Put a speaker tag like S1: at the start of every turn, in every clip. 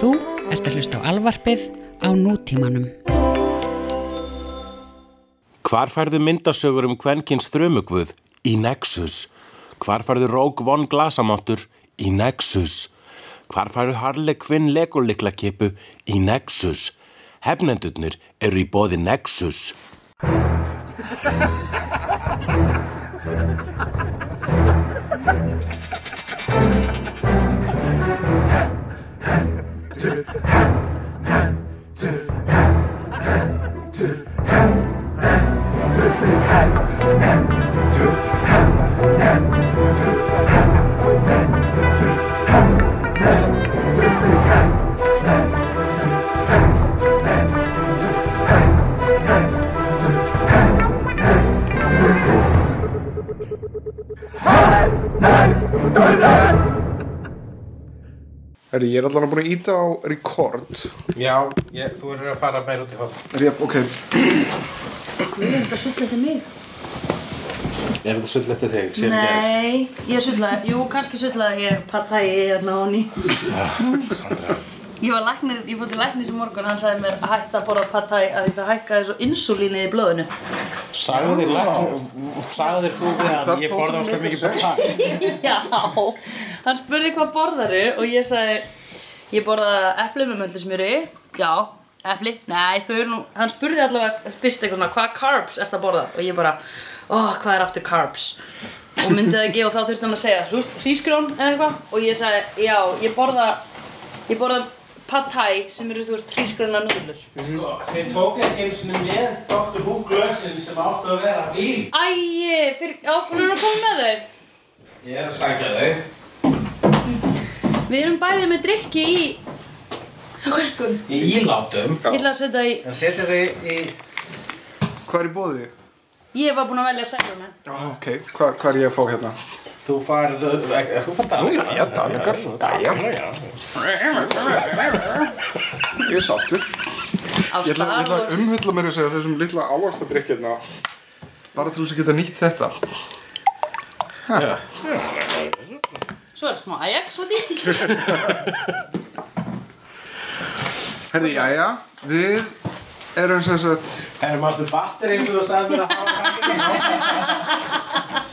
S1: Þú ert að hlusta á alvarpið á nútímanum.
S2: Hvar færðu myndasögur um kvenkins þrömugvöð? Í Nexus. Hvar færðu Rogue One glasamáttur? Í Nexus. Hvar færðu Harley Quinn legolikla kipu? Í Nexus. Hefnendurnir eru í bóði Nexus.
S3: Herri, ég er allan að búin að íta á rekord.
S2: Já, ég, þú eru að fara meira út í hótt.
S3: Er ég, ok,
S4: Við erum þetta sullandi mig.
S2: Er þetta svolítið eftir þig? sér í gær?
S4: Nei, ég sullaði, jú, kannski sullaði ég patæi hérna á ný.
S2: Sandra.
S4: Ég var læknir, ég fór til læknis í morgun, hann sagði mér að hætta að borða patæi að því það hækkaði svo insúlínið í blóðinu.
S2: Sagðir, læknir- sagðir þú við hann,
S3: Það
S2: ég
S3: tók
S2: borða
S3: hann
S2: áslega
S3: mikið
S2: mikið bætt.
S4: Já, hann spurði hvað borðaru og ég sagði, ég borða epli með möndlismjöri, já, epli, nei, þau eru nú, hann spurði allavega fyrst eitthvað svona, hvaða carbs ert að borða? Og ég bara, oh, hvað er aftur carbs? Og myndi það ekki og þá þurfti hann að segja, þú veist, hrísgrjón eða eitthvað og ég sagði, já, ég borða, ég borða pad thai sem eru, þú veist, hrísgrjónar núðlur.
S2: Sko, þeir tók ekki einu sinni með Dr. Who glösin sem áttu að vera vín.
S4: Æi, fyrir, já, hún er að koma með þau.
S2: Ég er að sækja þau.
S4: Við erum bæðið með drikki í,
S2: Í ílátum.
S4: ég ætla að setja í,
S2: En setja þau í...
S3: hvað er í bóði?
S4: ég var búin að velja sækjum henn.
S3: Já, ok, Hva, hvað er ég að fá hérna?
S2: Þú farð... eh, Þú farð daglega.
S3: Já, dalegar, já, ég er sáttur. Ég ætla, ég ætla að
S2: um-
S3: umhulla mér að segja þessum lilla ávaxtadrykk hérna. Bara til þess að geta nýtt þetta.
S4: Svo er smá Ajax út í.
S3: Herri, jæja, við erum sem sagt,
S2: Er maður batteri eins og þú sagði mér að hafa kannski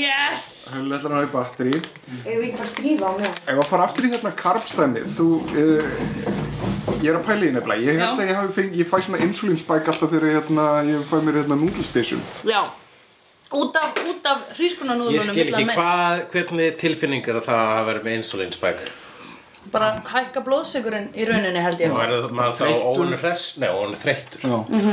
S4: Yes!
S3: höll ætlar að hafa í batteri.
S5: Eða ekki bara þrýfa á meðan.
S3: Ef að fara aftur í hérna karpstæmið, þú, uh, ég er að pæla í því nefnilega. Ég held
S4: Já.
S3: að ég hafi fengið, ég fæ svona insulinspæk alltaf þegar ég, hérna, ég fæ mér hérna núdlstisjum.
S4: Já. Út af, út af hrískunanúðunum.
S2: Ég skil ekki hvað, hvernig tilfinningar það hafa verið með insulin spæk
S4: Bara hækka blóðsökurinn í rauninni held ég.
S2: Og er það maður þá óun hress? Nei, óun þreyttur
S3: Já.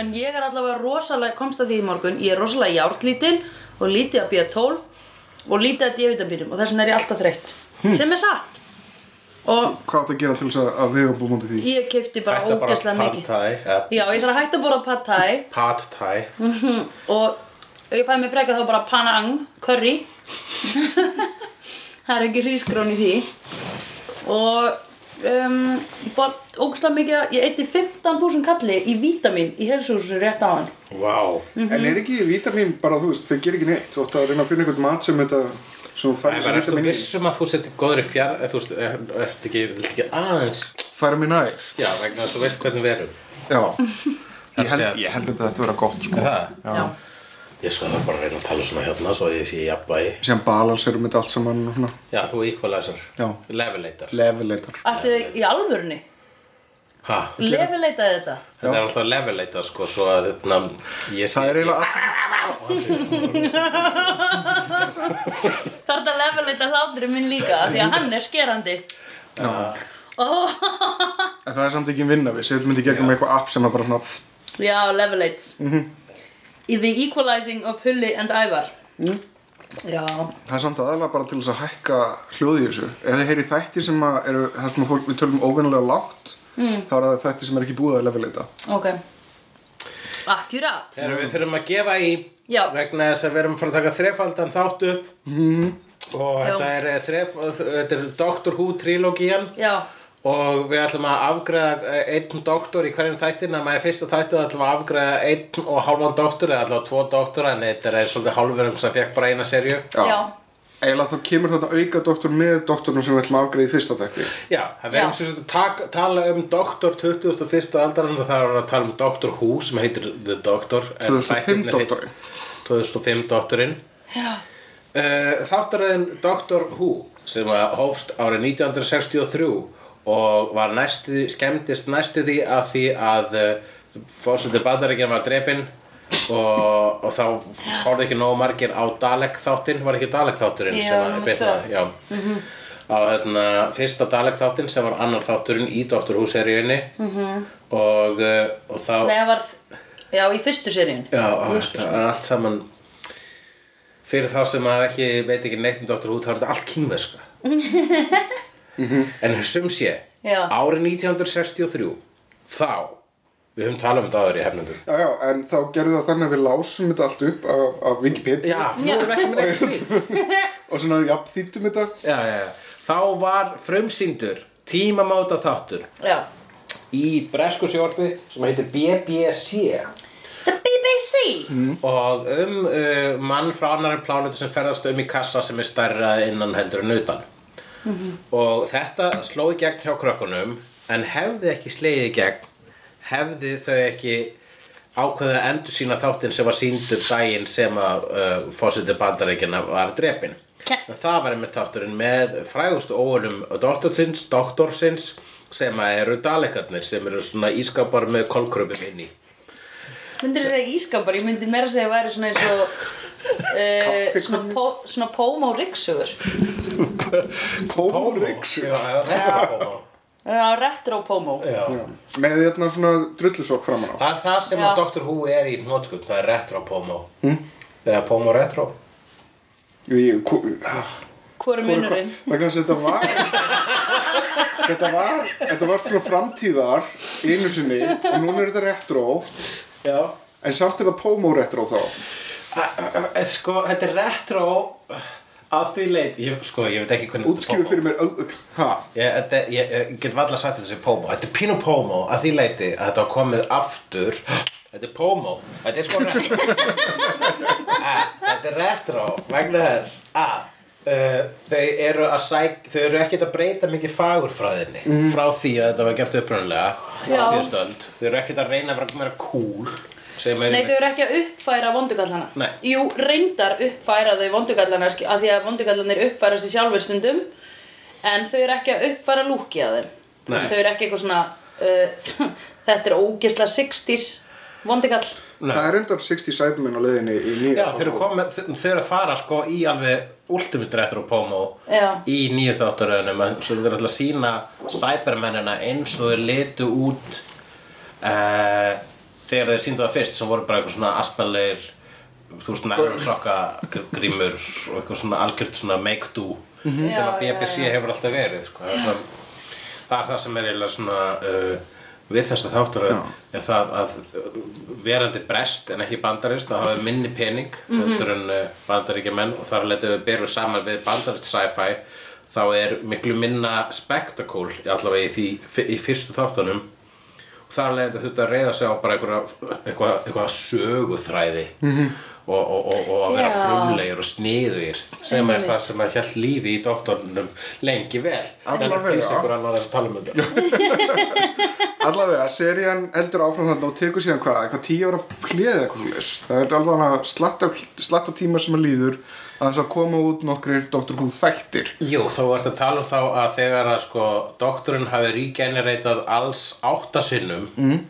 S4: En ég er allavega rosalega, komst að því í morgun, ég er rosalega járnlítil og lítið að bíja 12 og lítið að D-vitabínum og þess vegna er ég alltaf þreytt.
S2: Hm.
S4: Sem er satt. Og
S3: Hvað áttu að gera til þess að- að vega búið mútið því?
S4: ég kefti bara
S2: Þetta bara
S4: ógeðslega
S2: pad
S4: mikið.
S2: thai eða
S4: Já, ég þarf að hætta að borða pad thai
S2: Pad thai
S4: og ég fæði mig frekar þá bara panang, curry það er ekki hrísgrón í því og um, bara ógustlega mikið að- ég eitti 15.000 kalli í vítamin í helsúsu rétt á hann
S2: Vá
S3: En er ekki vítamin bara, þú veist, þau gerir ekki neitt. Þú ætti að reyna að finna einhvern mat sem þetta, sem þú færir
S2: Nei,
S3: þess
S2: menn
S3: að
S2: ertu
S3: vítamin í.
S2: vissum að þú settir góðri fjár eh, Þú veist, er- ertu ekki, viltu ekki aðeins
S3: Færa mér nær.
S2: Já, vegna þess að þú veist hvernig við erum
S3: Já.
S2: Það
S3: Ég held,
S2: sé að-
S3: ég held að þetta vera gott, sko.
S2: Það?
S3: Já.
S2: Ég sko það bara að reyna að tala svona hérna svo ég sé jafnvægi
S3: Sem balanserum þetta allt saman og svona.
S2: Já, þú equalizer
S3: Já.
S2: Levelator
S3: Leveleitar.
S4: Ætli þið í alvörunni,
S2: Ha,
S4: lefileitaði þetta
S2: þetta er alltaf levelator sko Svo að hérna ég sé-
S3: Það er eiginlega allir,
S4: þarf þetta lefileita hlátri minn líka af því að hann er skerandi
S3: en það er samt ekki vinna við. Sér myndi gegnum eitthvað app sem er bara svona,
S4: já, levelates mm -hmm. the equalizing of Hulli and Ævar já
S3: það er samt aðalega bara til þess að hækka hljóði í þessu. Ef þið heyri þætti sem að eru, þar sem að fólk, við tölum óvinnilega lágt, mm. þá er það þætti sem er ekki búið að leveleita.
S4: Ok. Akkurát.
S2: Þegar við þurfum að gefa í
S4: Já.
S2: vegna þess að við erum að fara að taka þrefaldan þátt upp
S3: Mhm.
S2: og þetta er, eh, þref, þetta er Doctor Who trilógían
S4: Já.
S2: og við ætlum að afgræða eh, einn doktor í hverjum þættin að maður fyrsta þættið ætlum við að afgræða einn um og hálfan doktor eða allavega tvo doktora en þetta er svolítið hálfurum sem fekk bara eina serju
S4: Já.
S3: En eiginlega þá kemur þarna auka doktor með doktornum sem við ætlum að afgreiða í fyrsta þætti
S2: Já, það
S4: Já.
S2: verðum sem sagt að taka- tala um Doktor 21. aldarinnar og það er að tala um Doktor Who sem heitir The Doctor en
S3: 2005
S2: þættirnir heit-
S3: doktorinn
S2: 2005 Doktorinn uh, Þáttaröðin Doctor Who sem að hófst árið 1963 og var næstu, skemmtist næstu því að því að uh, fórsetið bandaríkjan var drepinn og, og þá horfði ekki nógu margir á Dalek þáttinn, var ekki Dalek þátturinn
S4: Já,
S2: sem að
S4: númer tvö.
S2: bitnaði, já á hérna, fyrsta Dalek þáttinn sem var annar þátturinn í Doctor Who seríunni -hmm. og, uh, og þá
S4: Mhm. Nei, það var, já, í fyrstu seríun
S2: Já, og það er allt saman fyrir þá sem maður ekki veit ekki neitt um Dr. Who þá er þetta allt kínverska en sum sé
S4: Já.
S2: árið 1963 þá, við höfum talað um þetta áður í hefnendum
S3: Já, já, en þá gerðu það þannig að við lásum þetta allt upp af, af Wikipedia
S2: Já, nú erum við ekki með neitt frýtt
S3: og svona jafnþýttum þetta
S2: Já, já, já. þá var frumsýndur tímamáta þáttur
S4: Já
S2: í bresku sjórfi sem heitir BBC
S4: The BBC
S2: og um uh, mann frá annari plánutu sem ferðast um í kassa sem er stærra innan heldur en utan og þetta sló í gegn hjá krökkunum en hefði ekki slegið í gegn hefði þau ekki ákveðið að endur sína þáttinn sem var síndur daginn sem að uh, fósiti bandaríkina var drepin
S4: Ke-
S2: það var einmitt þátturinn með frægustu óvölum doktorsins, doktorsins sem að eru dalekarnir sem eru svona ískapar með kolkröpum inn í
S4: Myndir þú segja ískapar, ég myndi meira segja að væri svona eins og uh, svona, pó, svona póma og riksugur
S3: Pómriks
S2: Já, já, já.
S4: Já, retro pómo
S2: Já.
S3: með þarna svona drullusokk framan á
S2: Það er það sem
S4: Já.
S2: að Dr. Who er í nótskund, það er retro pomo mm? Eða pomo retro
S3: Ég, ko- ah,
S4: Hvor er munurinn?
S3: vegna þess að þetta var þetta var þetta var svona framtíðar einu sinni og núna er þetta retro
S2: Já
S3: en samt er það pómó retro þá
S2: Sko, þetta er retro að því leit ég, Sko, ég veit ekki hvernig
S3: útskýru fyrir mér au- au- ha
S2: Ég, þetta, ég, ég get valla sagt þetta sem pomo Þetta er pínu pomo að því leiti að þetta var komið aftur Þetta er pomo Þetta er sko retro Eh, Þetta er retro vegna þess að uh, þau eru að sæk þau eru ekkert að breyta mikið fagurfræðinni frá því að þetta var gert upprunalega á
S4: Já.
S2: síðustöld Þau eru ekkert að reyna að vera meira cool sem er
S4: Nei, þau eru ekki að uppfæra vondugallana
S2: Nei.
S4: Jú, reyndar uppfæra þau vondugallana sk- af því að vondugallanir uppfæra sér sjálfur stundum en þau eru ekki að uppfæra lúki að þeim Þú
S2: Nei.
S4: veist, Þau eru ekki eitthvað svona uh, þetta er ógisla 60s vondugall
S2: Nei.
S3: það er endar 60 sæbmenn á leiðinni í nýja
S2: Já, þau eru, komið, þau, þau eru að fara sko í alveg ultimate retro pomo
S4: Já.
S2: í nýju þáttaröðunum en svo þau eru alltaf að sína cybermennina eins og þau litu út uh, þegar þau síndu það fyrst sem voru bara eitthvað svona astnalegir þú veist, nælum sokka grímur og eitthvað svona algjört svona make-do sem að
S4: Mhm. Já, já,
S2: BBC hefur alltaf verið sko. það, er svona, það er það sem er eiginlega svona uh, við þessa þáttaröð er það að verandi brest en ekki bandarist þá hafa minni pening heldur en uh, bandaríkja og þar letum við berum saman við bandarist sci-fi þá er miklu minna spektakól allavega í, því, í fyrstu þáttunum og þar leðið þetta þurfti að reyða sig á bara einhverja eitthvað, eitthvað söguþræði -hmm. og, og, og, og að vera
S4: Já.
S2: frumlegir og sniðugir sem er það sem að hjælt lífi í doktornum lengi vel
S3: Alla
S2: En það
S3: vega.
S2: er einhver annar að tala um þetta
S3: allavega, serían eldur áfram þarna og tekur síðan hvað, eitthvað 10 ára hlið eða eitthvað leys það er allavega slatta, slatta tíma sem að líður að þess að koma út nokkrir Dr. Who þættir
S2: Jú, þá ertu að tala um þá að þegar að sko doktorinn hafi regeneratað alls átta sinnum mm.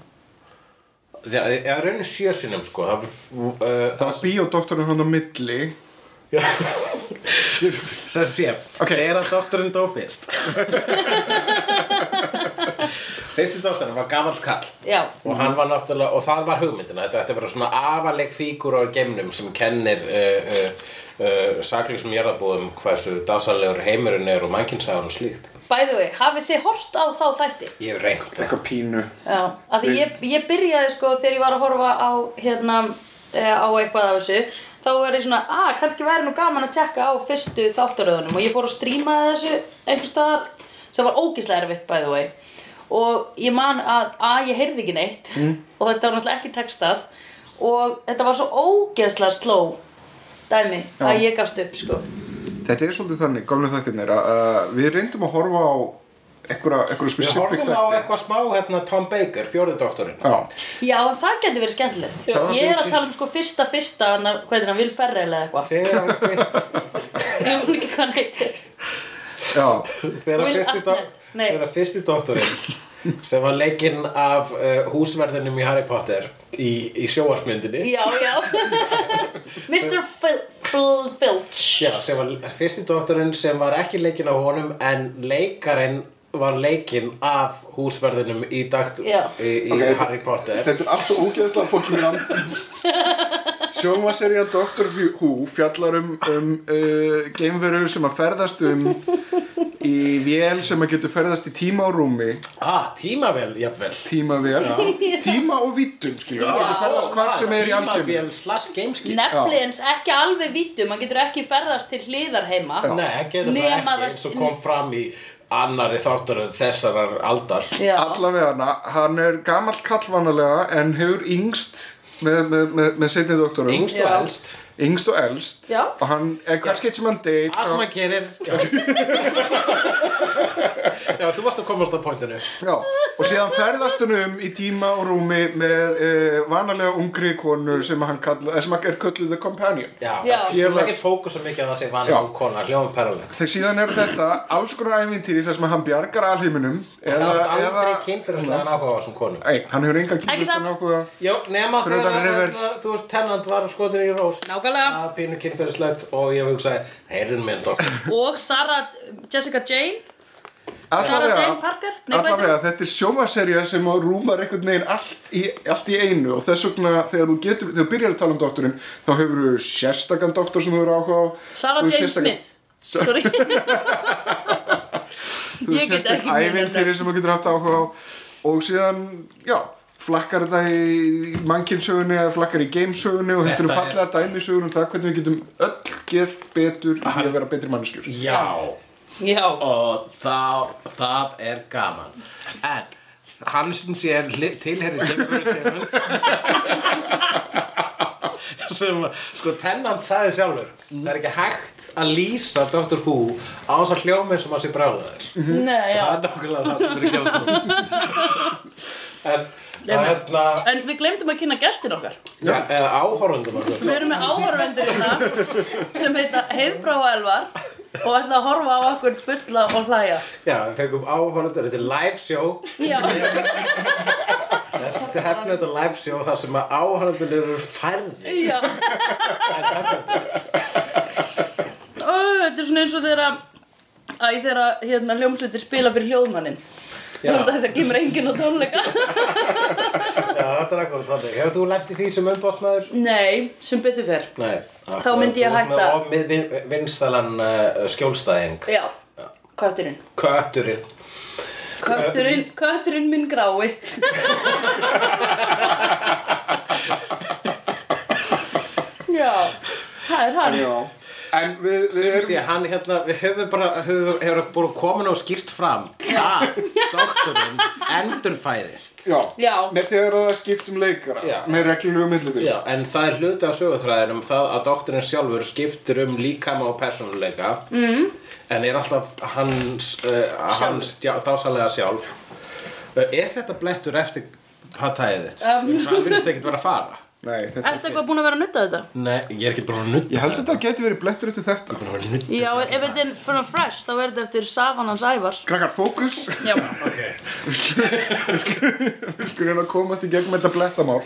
S2: það er raunin sjö sinnum sko það, uh,
S3: það var bíódoktorinn hann á milli
S2: sem sé,
S3: Ok.
S2: þegar að doktorinn dó fyrst fyrsti doktorinn var gamall kall
S4: Já,
S2: og hann var náttúrulega, og það var hugmyndina þetta ætti að vera svona afaleg fígur á geimnum sem kennir uh, uh, uh, saklegsum jarðabúðum hversu dásalegur heimurinn er og mannkynsæðan og slíkt
S4: by the way, hafið þið hort á þá þætti?
S2: ég hef reynt
S3: eitthvað pínu
S4: Já, af því ég, ég byrjaði sko þegar ég var að horfa á hérna eh, á eitthvað af þessu þá var ég svona, að ah, kannski væri nú gaman að tjekka á fyrstu þáttaröðunum og ég fór að stríma þessu einhvers staðar sem var ógislega erfitt by the way og ég man að, að ég heyrði ekki neitt og þetta var náttúrulega ekki textað og þetta var svo ógislega sló dæmi að ég gafst upp sko
S3: Þetta er svolítið þannig, gamlu þættirnir að að við reyndum að horfa á einhverja,
S2: Við
S3: einhverju specific
S2: horfum á eitthvað smá hérna Tom Baker, fjórið doktorinn.
S3: Já,
S4: Já, en það getur verið skemmtilegt.
S2: Já,
S4: ég
S2: sí,
S4: er að
S2: sí.
S4: tala um sko fyrsta, fyrsta, hana, hvað heitir hann, Vil Ferrell eða eitthvað.
S2: Þegar hann fyrst,
S4: Ég veit ekki hvað hann heitir.
S3: já,
S2: þegar hann
S4: Will
S2: fyrsti,
S4: Arnett,
S2: do-
S4: nei.
S2: þegar hann fyrsti doktorinn sem var leikinn af uh, húsverðinum í Harry Potter í, í sjóarsmyndinni.
S4: Já, já. Mr. Fil Fil Filch.
S2: Já, sem var fyrsti doktorinn sem var ekki leikinn af honum en leikarinn var leikinn af húsverðinum í, dakt, í,
S4: Já.
S2: í
S3: Ok, þetta-
S2: Harry Potter.
S3: þetta er allt svo ógeðslega fólkið mér andum Sjómaserja Dr. Who fjallar um, um uh, geimveru sem að ferðast um í vél sem að getur ferðast í tíma og rúmi
S2: Ah, tímavél, jafnvel.
S3: tíma vél, tíma og vittum skilur, það getur ferðast hvar sem er í algjörn
S2: Tímavél slash gameskip.
S4: Nefnilegins ekki alveg vítum, hann getur ekki ferðast til hliðar heima.
S2: Nei, ekki þetta bara
S4: Nema
S2: ekki
S4: það-
S2: eins og kom fram í annari þátturinn þessarar aldar.
S4: Já.
S3: allavega hann er gamall kall vanalega en hefur yngst með, með, með, með setni doktorum
S2: Yngst og
S4: Mm. Já.
S2: elst.
S3: yngst og elst
S4: Já.
S3: og hann er kannski eitt sem hann deyr
S2: Það sem að gerir... Já, já þú varst að komast á pointinu.
S3: Já, og síðan ferðast hann um í tíma og rúmi með e, vanalega ungri konu sem, hann kalla, eh, sem er kölluð The Companion
S2: Já,
S4: Já.
S2: það er ekki fókusa mikið að það sé vanlega
S3: Já.
S2: um kona, hljóðum perulegt.
S3: Þegar síðan er þetta alls konar ævintýri þar sem hann bjargar alheiminum
S2: Það
S3: eða,
S2: er aldrei
S3: eða
S2: kynfyrirslegan áhuga á þessum konum.
S3: Ei, hann hefur engan
S4: Ekki
S3: kynlistan
S4: samt?
S3: ákveða
S2: Jó, nema
S3: Fyrir
S2: þegar
S3: utan River.
S2: hérna, þú veist, Tennant var skotin í Rós
S4: Nákvæmlega.
S2: Það pínu kynferðislegt og ég hugsaði, heyrðin minn, doktor
S4: Og Sarah Jessica Jane, Sarah Jane
S3: Allavega,
S4: Parker, nei hvað heitir
S3: allavega þetta er sjómaserja sem að rúmar einhvern veginn allt í, allt í einu og þess vegna þegar þú getur, þegar þú byrjar að tala um doktorinn þá hefur þú sérstakann doktor sem þú eru áhuga á
S4: Sarah
S3: þú hefur
S4: Jane
S3: sérstakan-
S4: Smith. Sorry.
S3: þú
S4: Ég
S3: hefur
S4: get ekki
S3: sérstakann
S4: munið þetta.
S3: ævintýri sem þú getur haft áhuga á og síðan, já flakkar þetta í mannkinsögunni eða flakkar í gamesögunni og þetta eru
S2: Þetta er-
S3: fallega dæmisögur um það hvernig við getum öll gert betur í að vera betri manneskjur
S2: Já,
S4: Já.
S2: og þá, það er gaman En, hann sem sé er hli- tilheyrði kynferðislegt sem, sko, Tennant sagði sjálfur Það er ekki hægt að lýsa Dr. Who á þess að hljómið sem að sé bráða þér
S4: Nei, já.
S2: Það er nákvæmlega það sem er ekki að skoða En, það hérna
S4: En við glemdum að kynna gestin okkar.
S2: Já, eða áhorfundum að
S4: Við erum með áhörvendur hérna sem heita Heiðbrá og Elvar og ætla að horfa á okkur bulla og hlæja.
S2: Já, við fengum áhorfundur, þetta er live show
S4: Já.
S2: Þetta er hefnir þetta live show þar sem að áhorfundur eru færð
S4: Já. Ó, þetta er svona eins og þegar að Æ, þegar að, hérna hljómsveitir spila fyrir hljóðmannin. Þú veist að það kemur enginn á tónleika.
S2: Já, þetta er akkur þannig Hefur þú lent í því sem umbásmaður?
S4: Nei, sem betur fer.
S2: Nei
S4: Þá myndi ég hætta.
S2: Og með vin- vinsalan uh, skjólstæðing
S4: Já, kötturinn.
S2: Kötturinn
S4: Kötturinn, kötturinn minn grái. Já, það er hann.
S3: Já. en við, við
S2: Sem
S3: erum
S2: sé, hann hérna, við höfum bara, höfum, hefur bara komin og skýrt fram að doktorinn endurfæðist
S3: Já,
S4: Já.
S3: með þegar það skipt um leikara
S2: Já.
S3: með reglulegu millitíð
S2: Já, en það er hluti af sögurþræðinum það að doktorinn sjálfur skiptir um líkama og persónuleika mm. en er alltaf hans, uh, hans djá- dásalega sjálf uh, Er þetta blettur eftir hattæðið þitt?
S4: Um.
S2: Um. Það virðist ekkert vera að fara
S3: Nei, þetta
S4: Ertu eitthvað búin að vera að nutta þetta?
S2: Nei, ég er ekki bara að nutt
S3: Ég held að þetta geti verið blettur eftir þetta
S4: Já, ef þetta er fyrir fresh, þá er þetta eftir Savanans Ævars.
S3: Krakkar, fókus
S4: Já,
S3: Við skulum hérna komast í gegnum þetta blettamál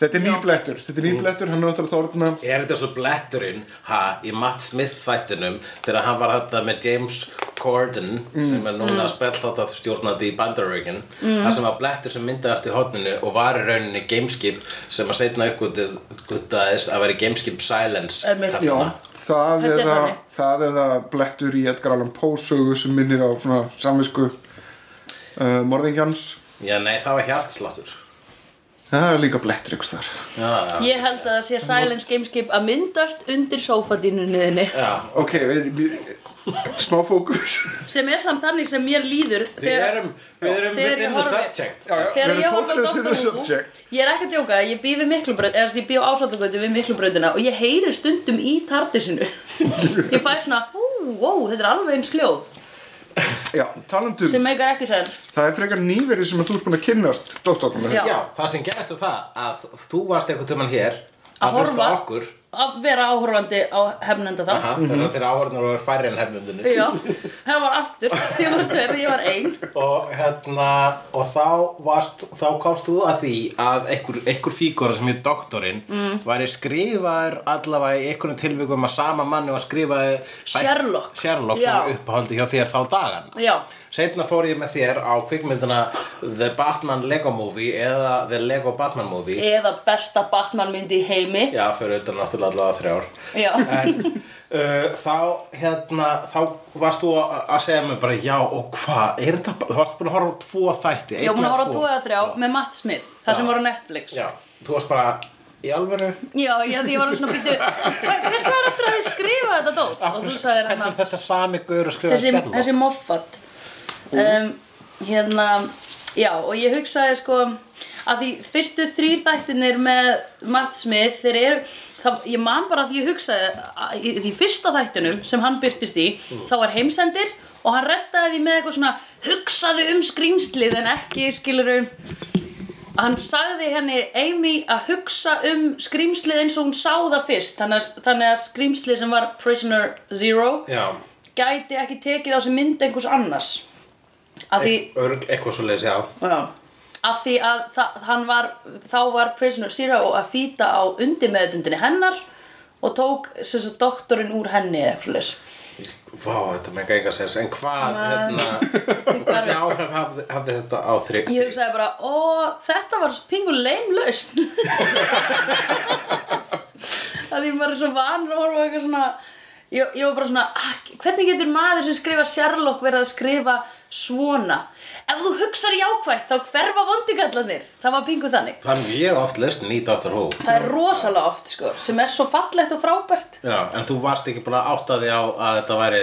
S3: Þetta er ný blettur Þetta er
S2: Mm.
S3: ný blettur, hann er náttúrulega þorna
S2: Er þetta svo bletturinn ha, í Matt Smith þættinum þegar hann var þetta með James Corden sem er núna mm. spellþáttað stjórnandi í Bandarögin mm. það sem var blettur sem myndaðast í hotninu og var í rauninni gameskip sem að setna uppgötaðist að vera gameskip silence
S4: Einmitt.
S2: kallað
S3: Já,
S2: það.
S3: það
S4: Þetta er
S3: eða,
S4: þannig.
S3: það eða blettur í Edgar Allan Poe sögu sem minnir á svona samvisku uh, morðingjans
S2: Já, nei, það var hjartsláttur
S3: Það er líka blettur ykkur þar.
S2: Já,
S4: Ég held að það sé Silence Gameskip að myndast undir sófadínunniðinni
S2: já.
S3: Ok, við, við, smá fókus.
S4: sem er samt þannig sem mér líður
S2: Við
S4: þegar-
S2: erum, við erum
S4: Þegar
S2: within
S4: ég
S2: the
S4: horfi-
S2: subject.
S3: Já, já,
S4: Þegar
S3: við
S4: ég
S3: erum
S4: horfði á
S3: totally
S4: Doctor
S3: within the
S4: Who,
S3: subject.
S4: ég er ekki að djóka, ég býð við miklubraut, eða þú veist, ég býð á ásvallagötu við miklubrautina og ég heyri stundum í tardisinu. ég fæ svona, ú, wow, þetta er alveg eins hljóð
S3: Já, talandum,
S4: sem meikar ekki sens.
S3: það er frekar nýverið sem að þú ert búin að kynnast doktornum.
S4: Já.
S2: Já, það sem gerðist um það að þú varst einhvern tímann hér
S4: Að
S2: að hlusta á
S4: horfa.
S2: okkur
S4: Að vera áhorfandi á hefnenda þá.
S2: Aha, Þegar þeir áhörnur voru færri en hefnundinu
S4: Mhm. Já, það var aftur, þið voru tveir og ég var ein.
S2: og hérna og þá, varst, þá komst þú að því að einhver, einhver fígóra sem er doktorinn mm. væri skrifaður allavega í einhvernum tilvikum að sama manni var skrifaði
S4: Sherlock.
S2: Sherlock
S4: Já.
S2: sem upphaldi hjá þér þá dagana
S4: Já,
S2: Seinna fór ég með þér á kvikmyndina The Batman Lego Movie eða The Lego Batman Movie
S4: eða besta Batman myndi í heimi.
S2: Já, fyrir utan náttúrulega allavega þrjár
S4: Já,
S2: en uh, þá hérna þá varst þú að að segja mér bara já og hvað, er þetta bara þú varst búin að horfa á tvo þætti einn
S4: ég var búin að
S2: eða
S4: horfa á tvo eða þrjá
S2: Já.
S4: með Matt Smith, það sem
S2: Já.
S4: voru á Netflix.
S2: já, þú varst bara í alvöru
S4: Já, ég, ég var alveg svona býttu Hver sagði eftir að þið skrifa þetta dót? Og þú sagðir hann
S2: hvernig
S4: að
S2: þetta sami gaur að skrifa
S4: þessi,
S2: Sherlock?
S4: þessi moffat um, Hérna, já, og ég hugsaði sko að því fyrstu þrýr þættinir með Matt Smith þeir eru Það, ég man bara að ég hugsaði að í því fyrsta þættinum sem hann byrtist í þá var heimsendir og hann reddaði því með eitthvað svona hugsaðu um skrýmslið en ekki skiluru hann sagði henni Amy að hugsa um skrýmslið eins og hún sá það fyrst þannig að, þannig að skrýmslið sem var Prisoner Zero
S2: já,
S4: gæti ekki tekið á sig mynd einhvers annars að því,
S2: Eit, örg, eitthvað svo leiðis, já
S4: já, að, því að þa- hann var, þá var Prisoner Zero að fýta á undirmeðutundinni hennar og tók sem sagt doktorinn úr henni eða eitthvað leys
S2: Vá, þetta með enga sens, en hvað, hérna, hvernig
S4: ég
S2: áhrif hafði, hafði þetta á þrygg?
S4: hugsaði bara, ó, þetta var pingu leimlaust að því maður er svo vanur að horfa á eitthvað svona ég, ég var bara svona, ah, hvernig getur maður sem skrifar Sherlock verið að skrifa svona ef þú hugsar jákvætt þá hverfa vondigallanir það var pingu þannig
S2: Það er mjög oft lausnin í Dr. Who.
S4: það er rosalega oft sko, sem er svo fallegt og frábært
S2: Já, en þú varst ekki búin að átta þig á að þetta væri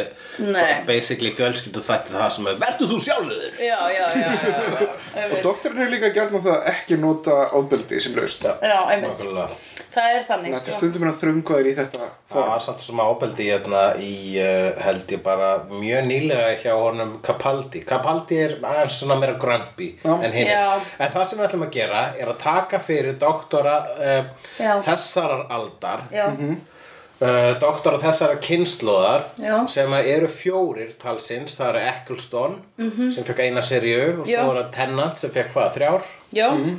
S4: Nei.
S2: basically fjölskyldu þætti það sem er Vertu þú sjálfur?
S4: já, já, já, já, já, já.
S3: Og
S4: einmitt.
S3: doktorinn hefur líka gert nú það að ekki nota ofbeldi sem laust.
S4: já, einmitt,
S2: Nákvæmlega
S4: það er þannig
S3: Þetta er
S4: sko.
S3: stundum hérna þrungaður í þetta
S2: Það
S3: form.
S2: var samt sem ábeldi hérna í uh, held ég bara mjög nýlega hjá honum Capaldi Capaldi er aðeins svona meira grumpy
S3: Já.
S2: en hinn
S4: Já.
S2: En það sem við ætlum að gera er að taka fyrir doktora uh,
S4: Já.
S2: þessarar aldar
S4: já,
S2: Uh, doktor á þessara kynnslóðar
S4: Já.
S2: sem að eru fjórir talsins, það eru Eccleston sem fekk eina seríu og
S4: Mhm. Já.
S2: svo er það Tennant sem fekk hvað, þrjár
S4: já,
S2: Mhm.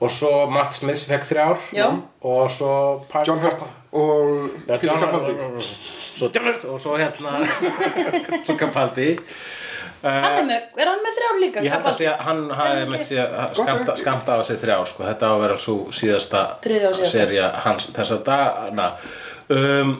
S2: og svo Matt Smith sem fekk þrjár
S4: Já.
S2: og svo Park-
S3: John Hurt og
S2: Já,
S3: Peter
S2: John
S3: Capaldi.
S2: svo John Hurt og svo hérna svo Capaldi
S4: hann er með, er hann með þrjár líka?
S2: Eh, ég held að
S4: Kapal-
S2: sé að hann hafi með sé að skamta, skamta á sig þrjár sko. þetta á að vera svo síðasta
S4: Þriðja og síðasta.
S2: serja hans þessa dagana um,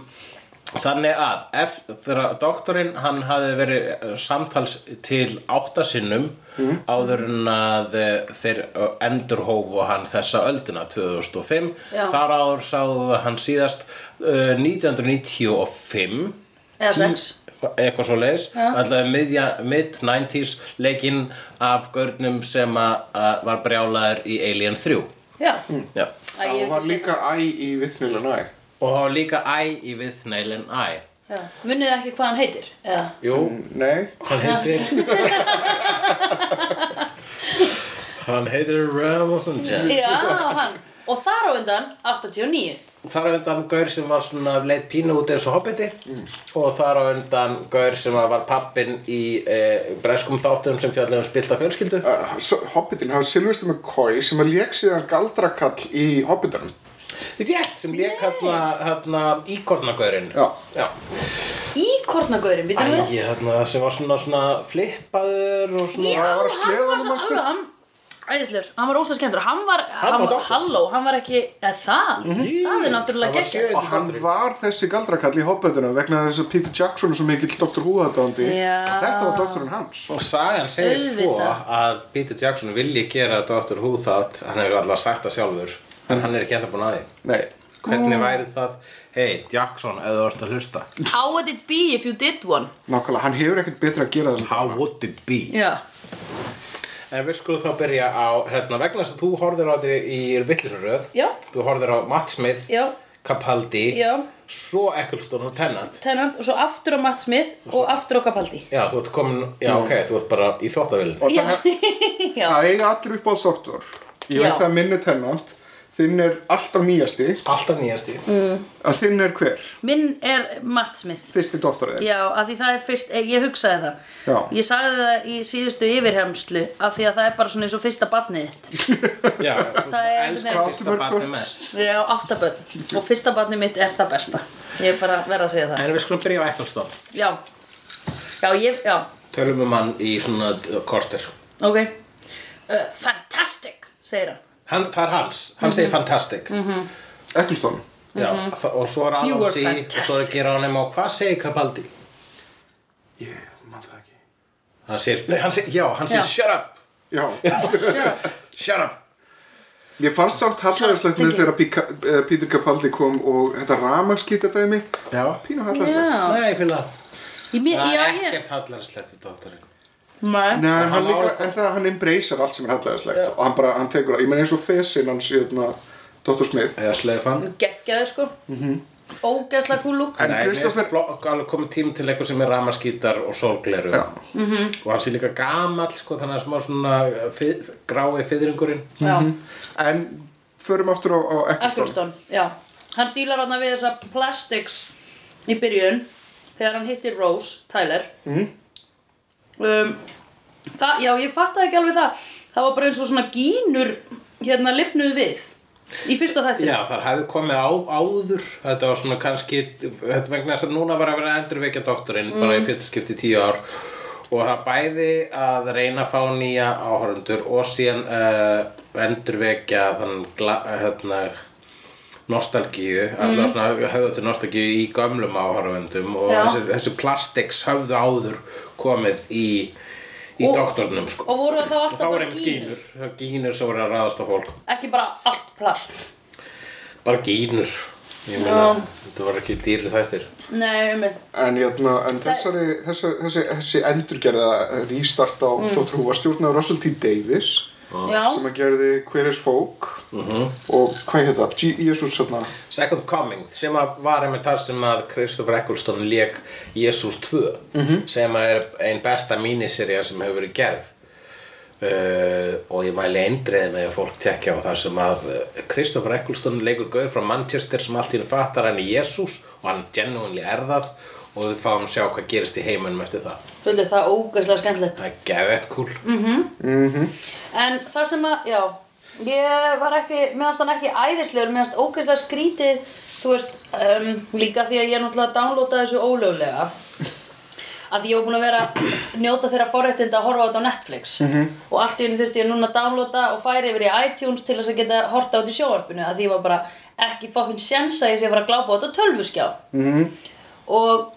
S2: þannig að eftir, þegar að doktorinn hann hafi verið eh, samtals til áttasinnum mm. áður en að eh, þeir endurhófu hann þessa öldina 2005
S4: Já.
S2: þar áður sáðu við hann síðast uh, 1995
S4: eða
S2: Tí-
S4: sex
S2: eitthvað svo leis alltaf miðja, mid-90s leikinn af görnum sem að, að var brjálaður í Alien 3
S4: já,
S2: Já.
S4: Æ,
S3: Það
S4: ég hef ekki
S3: var
S4: séð-
S3: líka æ í viðsnilu næ.
S2: og það var líka æ í við Nailen æ
S4: Já, munið þið ekki hvað hann heitir? Eða?
S2: Jú,
S3: Nei,
S2: hann heitir Hann heitir Ramazan Jack
S4: Já, hann. Og þar á undan 89.
S2: Þar á undan gaur sem var svona leitt pínu út eins og hobbiti og þar á undan gaur sem að var pappinn í eh, breskum þáttum sem fjallið um spilta fjölskyldu
S3: uh, so- Hobbitin hafa Silvestur McCoy sem að lék síðan galdrakall í Hobbitanum.
S2: Rétt, sem lék hérna, hérna íkornagaurinn
S3: Já.
S2: Já.
S4: Í kornagaurin, við þið
S2: Æ, hérna, sem var svona, svona flippaður og svona
S4: Já,
S3: Það var að
S4: hann
S3: sleða
S4: var
S3: honum,
S4: svo
S3: manstu?
S4: alveg, hann, Æðislegur, hann var óslega skemmtur Hann var,
S2: var
S4: hann var,
S2: dálkur.
S4: halló, hann var ekki eða það, það er náttúrulega
S2: Það var
S4: geggjað.
S2: sjöundi
S3: og hann
S2: þátturinn.
S3: var þessi galdrakall í hoppetunum vegna þess að Peter Jackson er svo mikill Dr. Who aðdáðandi
S4: Já.
S3: þetta var doktorinn hans
S2: Og sagan segir svo
S4: Auðvitað.
S2: að Peter Jackson vilji gera Dr. Who þátt, hann hefur alltaf sagt það sjálfur, en hann er ekki enda búin að því.
S3: nei,
S2: Hvernig væri það, hei Jackson, ef þú ert að hlusta,
S4: How would it be if you did one?
S3: nákvæmlega, hann hefur ekkert betra að gera þess
S2: how would it be?
S4: Já,
S2: En við skulum þá byrja á, hérna, vegna þess að þú horfðir á þér í villisröð,
S4: Já.
S2: þú horfðir á Matt Smith,
S4: Já.
S2: Capaldi,
S4: já,
S2: svo Eccleston og Tennant.
S4: Tennant og svo aftur á Matt Smith og aftur á Capaldi
S2: Já, þú ert komin, já, ok, þú ert bara í þóttavillin.
S3: og
S4: Já,
S3: það,
S4: já,
S3: það eiga allir upp á sortur ég
S4: Já.
S3: veit það að minni tennant þinn er alltaf nýjasti
S2: Alltaf nýjast í. Mm.
S3: að þinn er hver,
S4: minn er Matt Smith
S3: fyrsti doktorið
S4: Já, af því það er fyrst, eh, ég hugsaði það
S3: Já.
S4: Ég sagði það í síðustu yfirhemslu af því að það er bara svona eins og fyrsta barnið þitt
S2: Já, þú
S4: Það er
S2: elskar
S4: nefnt.
S2: fyrsta barni mest.
S4: Já, áttaböld og fyrsta barnið mitt er það besta Ég er bara að verða að segja það
S2: En við skulum byrja á Eccleston.
S4: Já, já, ég, já,
S2: Tölum um hann í svona uh, korter.
S4: ok uh, Fantastic, segir hann
S2: Hann, það er hans, hann segir
S4: Mhm.
S2: fantastic.
S3: Eccleston,
S2: Já, þa- og svo er
S4: You
S2: Adam
S4: were
S2: C. og svo er
S4: fantastic.
S2: Gerónimo. Hvað segir Capaldi?
S3: ég man það ekki
S2: Hann segir, nei, hann segir, já, hann segir
S4: Já.
S2: shut up,
S3: já,
S2: shut up.
S3: Mér fannst samt hallarðislegt með þegar Pika- eh, Peter Capaldi kom og þetta ramaskýta dæmi
S2: Já.
S3: pínu hallarðislegt
S4: Já,
S2: Nei, ég finn það.
S4: ég, mér,
S2: Það
S4: já,
S2: er
S4: ég
S2: ekkert hallarslegt við dóttarinn.
S4: Nei,
S3: Nei,
S2: hann
S3: en, hann
S2: má
S3: líka,
S2: alveg-
S3: en það er hann embracear allt sem er hallæðislegt
S2: Já.
S3: og hann bara, hann tekur það, ég meina eins og fesinn hans í þarna Dr. Smith
S2: Eða sleifan.
S4: geggjaður sko mm -hmm. Ógeðslega cool look
S3: En
S2: Nei,
S3: Kristoffer-
S2: mér finnst fló- alveg komið tími til eitthvað sem er ramaskítar og sólgleru.
S3: Já.
S2: -hmm. Og hann sé líka gamall, sko, þannig að smá svona uh, fið, grái fyrringurinn.
S4: Já,
S3: en förum aftur á, á Eccleston
S4: Eccleston, já Hann dílar hann við þessa plastics í byrjun þegar hann hittir Rose, Tyler um, það, Já, ég fattaði ekki alveg það Það var bara eins og svona gínur hérna lifnuð við í fyrsta þætti
S2: Já, þar hefði komið á, áður. Þetta var svona kannski, þetta vegna þess að núna var að vera að endurvekja dóttarinn bara
S4: Mm.
S2: í fyrsta skipti í tíu ár. Og það bæði að reyna að fá nýja áhörundur og síðan uh, endurvekja þann, gla, hérna, nostalgíu, allavega svona höfða til nostalgíu í gömlum áhörfundum og
S4: Mm. Já.
S2: þessi, þessi plastics höfðu áður komið í, í
S4: Og-
S2: doktornum sko.
S4: Og voru þá
S2: Og þá
S4: alltaf
S2: var
S4: bara
S2: einmitt
S4: gínur
S2: gínur, það var gínur sem voru að ráðast á fólk.
S4: Ekki bara allt plast
S2: Bara gínur, ég meina, þetta var ekki dýri þættir.
S4: Nei, um eitt
S3: En, jæna, en þessari, þessi, þessi, þessi endurgerða restart á Dr. Who var stjórnað af Russell T. Davis
S2: Ah.
S4: Já,
S3: sem að gerði Hver is Folk
S2: Mhm.
S3: og hvað heit þetta? G- Jesus hérna
S2: Second Coming, sem að var einmitt þar sem að Kristoffer Eccleston lék Jesus 2, sem að er ein besta míniserja sem hefur verið gerð uh, og ég mæli eindreið með að fólk tekja á þar sem að uh, Kristoffer Eccleston leikur gauður frá Manchester sem allt í henni fattar hann í Jesus og hann genuinely er það og við fáum að sjá hvað gerist í heiminum eftir það
S4: fyrir það ógeðslega skemmtilegt
S2: það er geðvett kúl
S4: En það sem að, já, ég var ekki, meðanst hann ekki æðislegur, meðanst ógeðslega skrítið, þú veist, um, líka því að ég náttúrulega downloadaði þessu ólöglega. Að því ég var búin að vera að njóta þeirra forréttinda að horfa á þetta á Netflix. -hmm. Og allt í henni þurfti ég núna að downloada og færa yfir í iTunes til þess að geta horta út í sjónvarpinu. Að því ég var bara ekki fokkin sjens að ég sé að fara að glápa á þetta á tölvuskjá. Mm -hmm. Og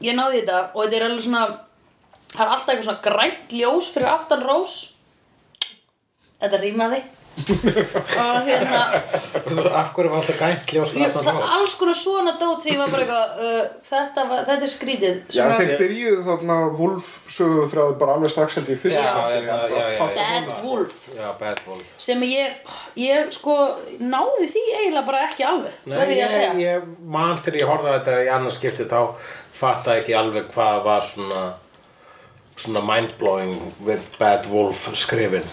S4: ég náði þetta og þetta er alveg svona, það er alltaf eitthvað svona grænt ljós fyrir aftan rós þetta rýmaði og hérna
S2: af hverju var alltaf gænt ljós fyrir
S4: jú,
S2: aftan
S4: það,
S2: hrós?
S4: alls konar svona dót sem ég var bara eitthvað uh, þetta, var, þetta er skrítið
S3: Já,
S4: svona,
S3: þeir byrjuðu þarna Wolf sögum þrjáðu bara alveg strax held ég í fyrsta
S2: Já,
S3: þætti,
S2: já,
S3: bara
S2: já, já, já.
S3: popp-
S4: Bad Wolf
S2: já, bad wolf
S4: sem ég, ég sko náði því eiginlega bara ekki alveg
S2: Nei,
S4: verð ég að
S2: ég,
S4: segja
S2: ég man þegar ég horfði á þetta í annars skipti þá fatta ekki alveg hvað var svona svona mindblowing við Bad Wolf skrifin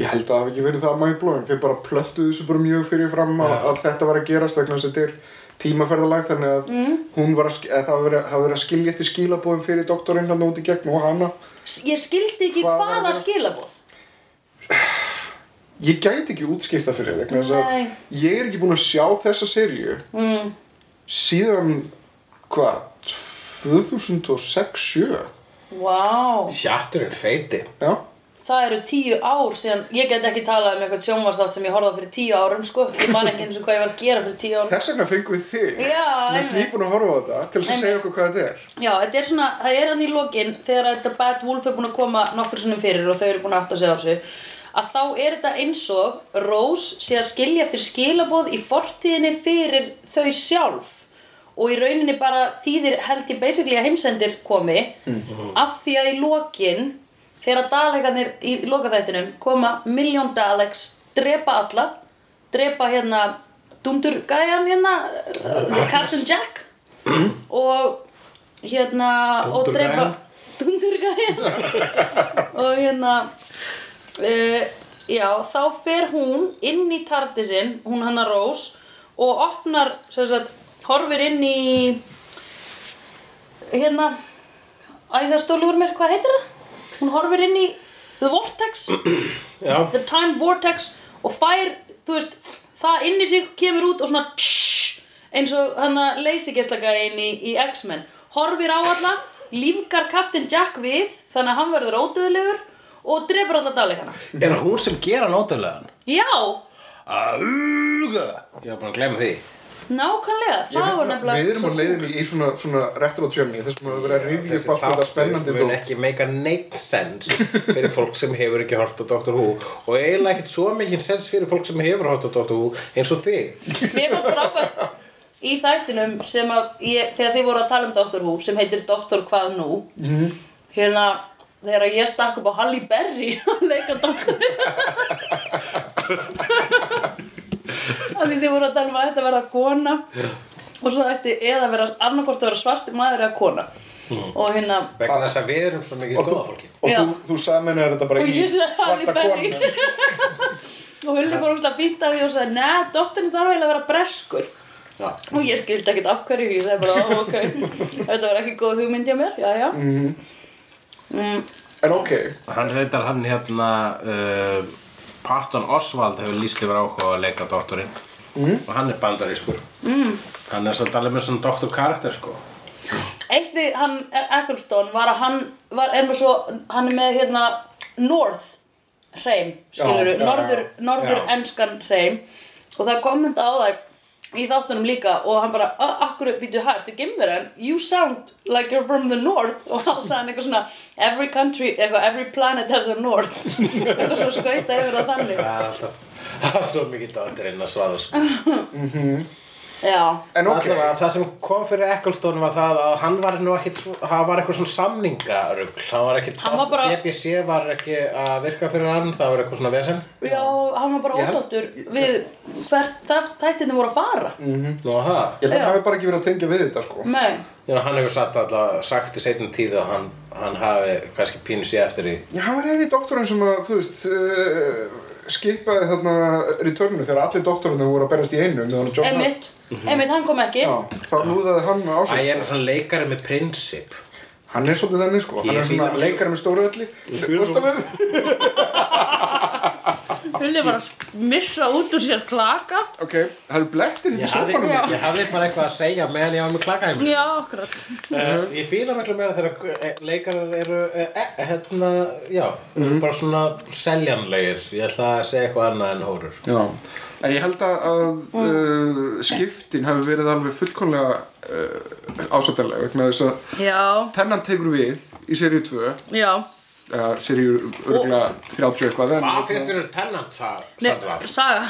S3: Ég held að það hafi ekki verið það mindblowing, þeir bara plöttuðu þessu bara mjög fyrir fram að, að þetta var að gerast vegna þess að þetta er tímaferðalag þannig að hún var að, sk- að það hafi verið, hafi verið að skilja eftir skilabóðum fyrir doktorinn hann út í gegn og hana.
S4: S- ég skildi ekki
S3: Hvað var
S4: hvaða
S3: það?
S4: skilabóð
S3: Ég gæti ekki útskipta fyrir þér vegna þess
S4: Nei.
S3: að ég er ekki búin að sjá þessa serju mm. síðan, hvað, 2006-7?
S4: wow.
S2: Sjatturinn feiti
S3: Já,
S4: það eru tíu ár síðan, ég get ekki talað um eitthvað sjónvarstátt sem ég horfði á fyrir tíu árum sko, ég man ekki eins og hvað ég var að gera fyrir tíu árum
S3: Þess vegna fengum við þig
S4: Já,
S3: sem er
S4: einmitt.
S3: nýbúin að horfa á þetta til þess að
S4: Einmitt.
S3: segja okkur hvað þetta er
S4: Já, þetta er svona, það er hann í lokin þegar að þetta Bad Wolf er búin að koma nokkur sinnum fyrir og þau eru búin að átta sig á þessu að þá er þetta eins og Rose sé að skilja eftir skilaboð í fortíðinni fyrir þau sjálf og í rauninni bara þýðir held ég basically að heimsendir komi af því að í lokin þegar dalegarnir í lokaþættinum koma miljón dalegs drepa alla drepa hérna Dúmdur Gæjan hérna eh, Captain Jack og hérna og
S2: Dundurgæjan.
S4: drepa Dundurgæjan og hérna uh, já, þá fer hún inn í tarti sinn, hún hann að Rós og opnar, sem sagt horfir inn í hérna æðastólur mér, hvað heitir það? hún horfir inn í The Vortex
S2: Já,
S4: The Time Vortex og fær, þú veist, það inn í sig kemur út og svona tss, eins og hann að leysigeslaka inn í, í X-Men horfir á alla, lífgar kaftin Jack við þannig að hann verður ódöðlegur og drefur alla dalegana
S2: er það hún sem gera nótulegan?
S4: Já,
S2: Auga! Ég var bara að glemma því.
S4: nákvæmlega,
S3: Ég
S4: það var
S3: meina,
S4: nefnilega
S3: Við erum á leiðinu í svona, svona retro tjömmi þess að við verðum að rifja upp allt þetta spennandi
S2: mun
S3: dót.
S2: ekki make a neitt sense fyrir fólk sem hefur ekki hort á Dr. Who og eiginlega ekkert svo mikið sense fyrir fólk sem hefur hort á Dr. Who eins og þig.
S4: Mér fannst frábært í þættinum sem að ég, þegar þið voru að tala um Dr. Who sem heitir Dr. Hvað nú hérna þegar ég stakk upp á Halle Berry að leika Dr. af því þið voru að tala um að þetta verða kona og svo ætti eða vera annarkvort að vera svartur maður eða kona og hérna
S2: Vegna þess að við erum svo mikið
S3: Og,
S2: góða
S3: þú,
S2: fólki.
S3: og
S4: Já.
S3: þú, þú saminar þetta bara
S4: Og
S3: í
S4: ég sagði
S3: svarta
S4: Halle Berry.
S3: konu
S4: og Hulli fór óslega fínt að því og sagði neða, doktorinn þarf eiginlega að vera breskur
S2: Já.
S4: og ég skildi ekkert af hverju ég sagði bara, "Ó, ok, þetta var ekki góð hugmynd hjá mér, já, já
S3: En ok,
S2: Hann reyndar hann hérna uh, Patton Oswald hefur lýst yfir áhuga að leika doktorinn
S3: Mm.
S2: og hann er bandarískur mm. hann er samt alveg með svona doktor karakter sko
S4: Eitt við hann, Eccleston, var að hann var, er með svo, hann er með hérna North hreim, skilur
S3: Já, já, já.
S4: norður, norður
S2: Já.
S4: enskan hreim og það kom mynda á það í þáttunum líka og hann bara, "Ah, akkur býtu hægt, þú gemur hann, you sound like you're from the north og hann sagði hann eitthvað svona, every country, eitthvað, every planet has a north eitthvað svo skauta yfir það þannig
S2: það er alltaf það er svo mikið doktorinn að svara sko
S4: Já,
S3: en ok,
S2: Allavega, það sem kom fyrir Ecclestone var það að hann var nú ekkit, hann var eitthvað svona samningarugl, hann var ekkit,
S4: Hann var bara-
S2: BBC var ekki að virka fyrir hann, það var eitthvað svona vesen.
S4: já, hann var bara
S3: Ég held-
S4: ósáttur við hvert þar tættinni voru að fara
S3: Mm.
S2: Nú að það,
S3: ég held að
S4: Já. Mm.
S3: hann hafi bara ekki verið að tengja við þetta sko.
S4: Nei,
S2: Já, hann hefur sagt alltaf, sagt í seinni tíð að hann, hann hafi kannski pínu sér eftir því.
S3: Já, hann var eini doktorinn sem að, þú veist, uh, skipaði þarna returninu þegar allir doktorinnir voru að berast í einu meðan John
S4: einmitt, einmitt, hann kom ekki
S3: Mhm. Já, þá lúðaði hann á
S2: Æ,
S3: sig.
S2: ég er nú svona leikari með prinsip.
S3: Hann er svolítið þannig sko, hann
S2: Ég
S3: er svona
S2: fíla-
S3: leikari með stóru öllu. Þú veist það með?
S4: Hulli var að missa út úr sér klaka
S3: Ok, það eru blektir hérna
S2: Ég
S3: í
S2: hafði,
S3: sofanum.
S2: ég hafði bara eitthvað að segja meðan ég var með klaka heim.
S4: Já, akkurat
S2: Uh, ég fíla miklu meira þegar eh, leikarar eru, eh, eh, hérna, já, eru bara svona seljanlegir. Ég ætla að segja eitthvað annað en hóru, sko.
S3: Já, en ég held að, að uh, skiptin hafi verið alveg fullkomlega uh, ásættarlega vegna þess að
S4: Já,
S3: tennan tekur við í seríu 2 eða
S4: já
S3: seríu örgulega 30 eitthvað en
S2: Hvað finnst þér tennant það?
S4: Nei,
S2: Sandvar?
S4: saga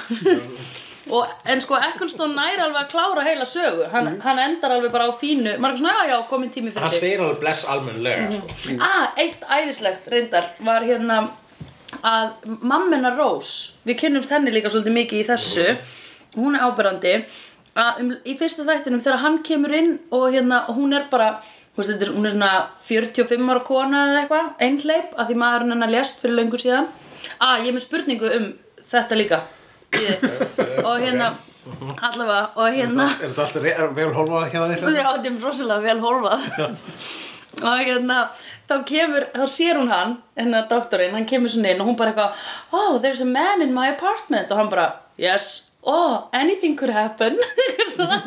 S4: Og, en sko, Eccleston nær alveg að klára heila sögu Hann, hann endar alveg bara á fínu Margur svona, já, já, komin tími fyrir
S2: Hann
S4: þig
S2: segir alveg bless almennlega sko.
S4: Ah, eitt æðislegt reyndar var hérna að mammina Rose, við kynnumst henni líka svolítið mikið í þessu, hún er áberandi, að um, í fyrsta þættinum þegar hann kemur inn og hérna og hún er bara, þú veist, þetta er- hún er svona 45 ára kona eða eitthvað, einhleip, að því maðurinn hennar lest fyrir löngu síðan. Ah, ég er með spurningu um þetta líka, Bíðið. og hérna, allavega, og hérna...
S2: Er þetta alltaf re- vel hólfað hjá þér?
S4: Já, þetta er rosalega vel horfað og hérna þá kemur, þá sér hún hann hérna doktorinn, hann kemur svona inn og hún bara eitthvað oh, there's a man in my apartment og hann bara, yes, oh, anything could happen Eitthvað svona.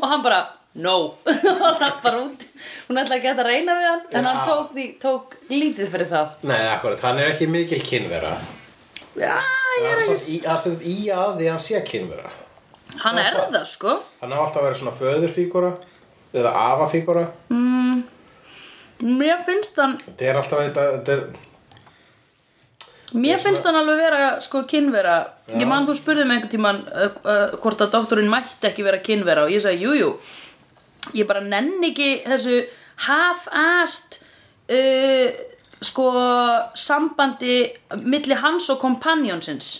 S4: og hann bara, no og það bara út hún ætlaði ekki að reyna við hann en
S2: Já.
S4: hann tók, því, tók lítið fyrir það
S2: Nei, akkurat, hann er ekki mikil kynvera
S4: já, ég
S2: Hann
S4: er
S2: er
S4: ekki
S2: í, hann stund í að því að hann sé kynvera
S4: hann er það sko
S2: Hann á alltaf að vera svona föðurfígúra eða afafígúra
S4: mér finnst hann
S2: Þetta er alltaf þetta, þetta er,
S4: Mér finnst hann alveg vera sko kynvera Ég man þú spurði mig einhvern tíman uh, uh, hvort að doktorinn mætti ekki vera kynvera og ég sagði jújú jú. ég bara nenni ekki þessu half-assed uh, sko sambandi milli hans og kompanjónsins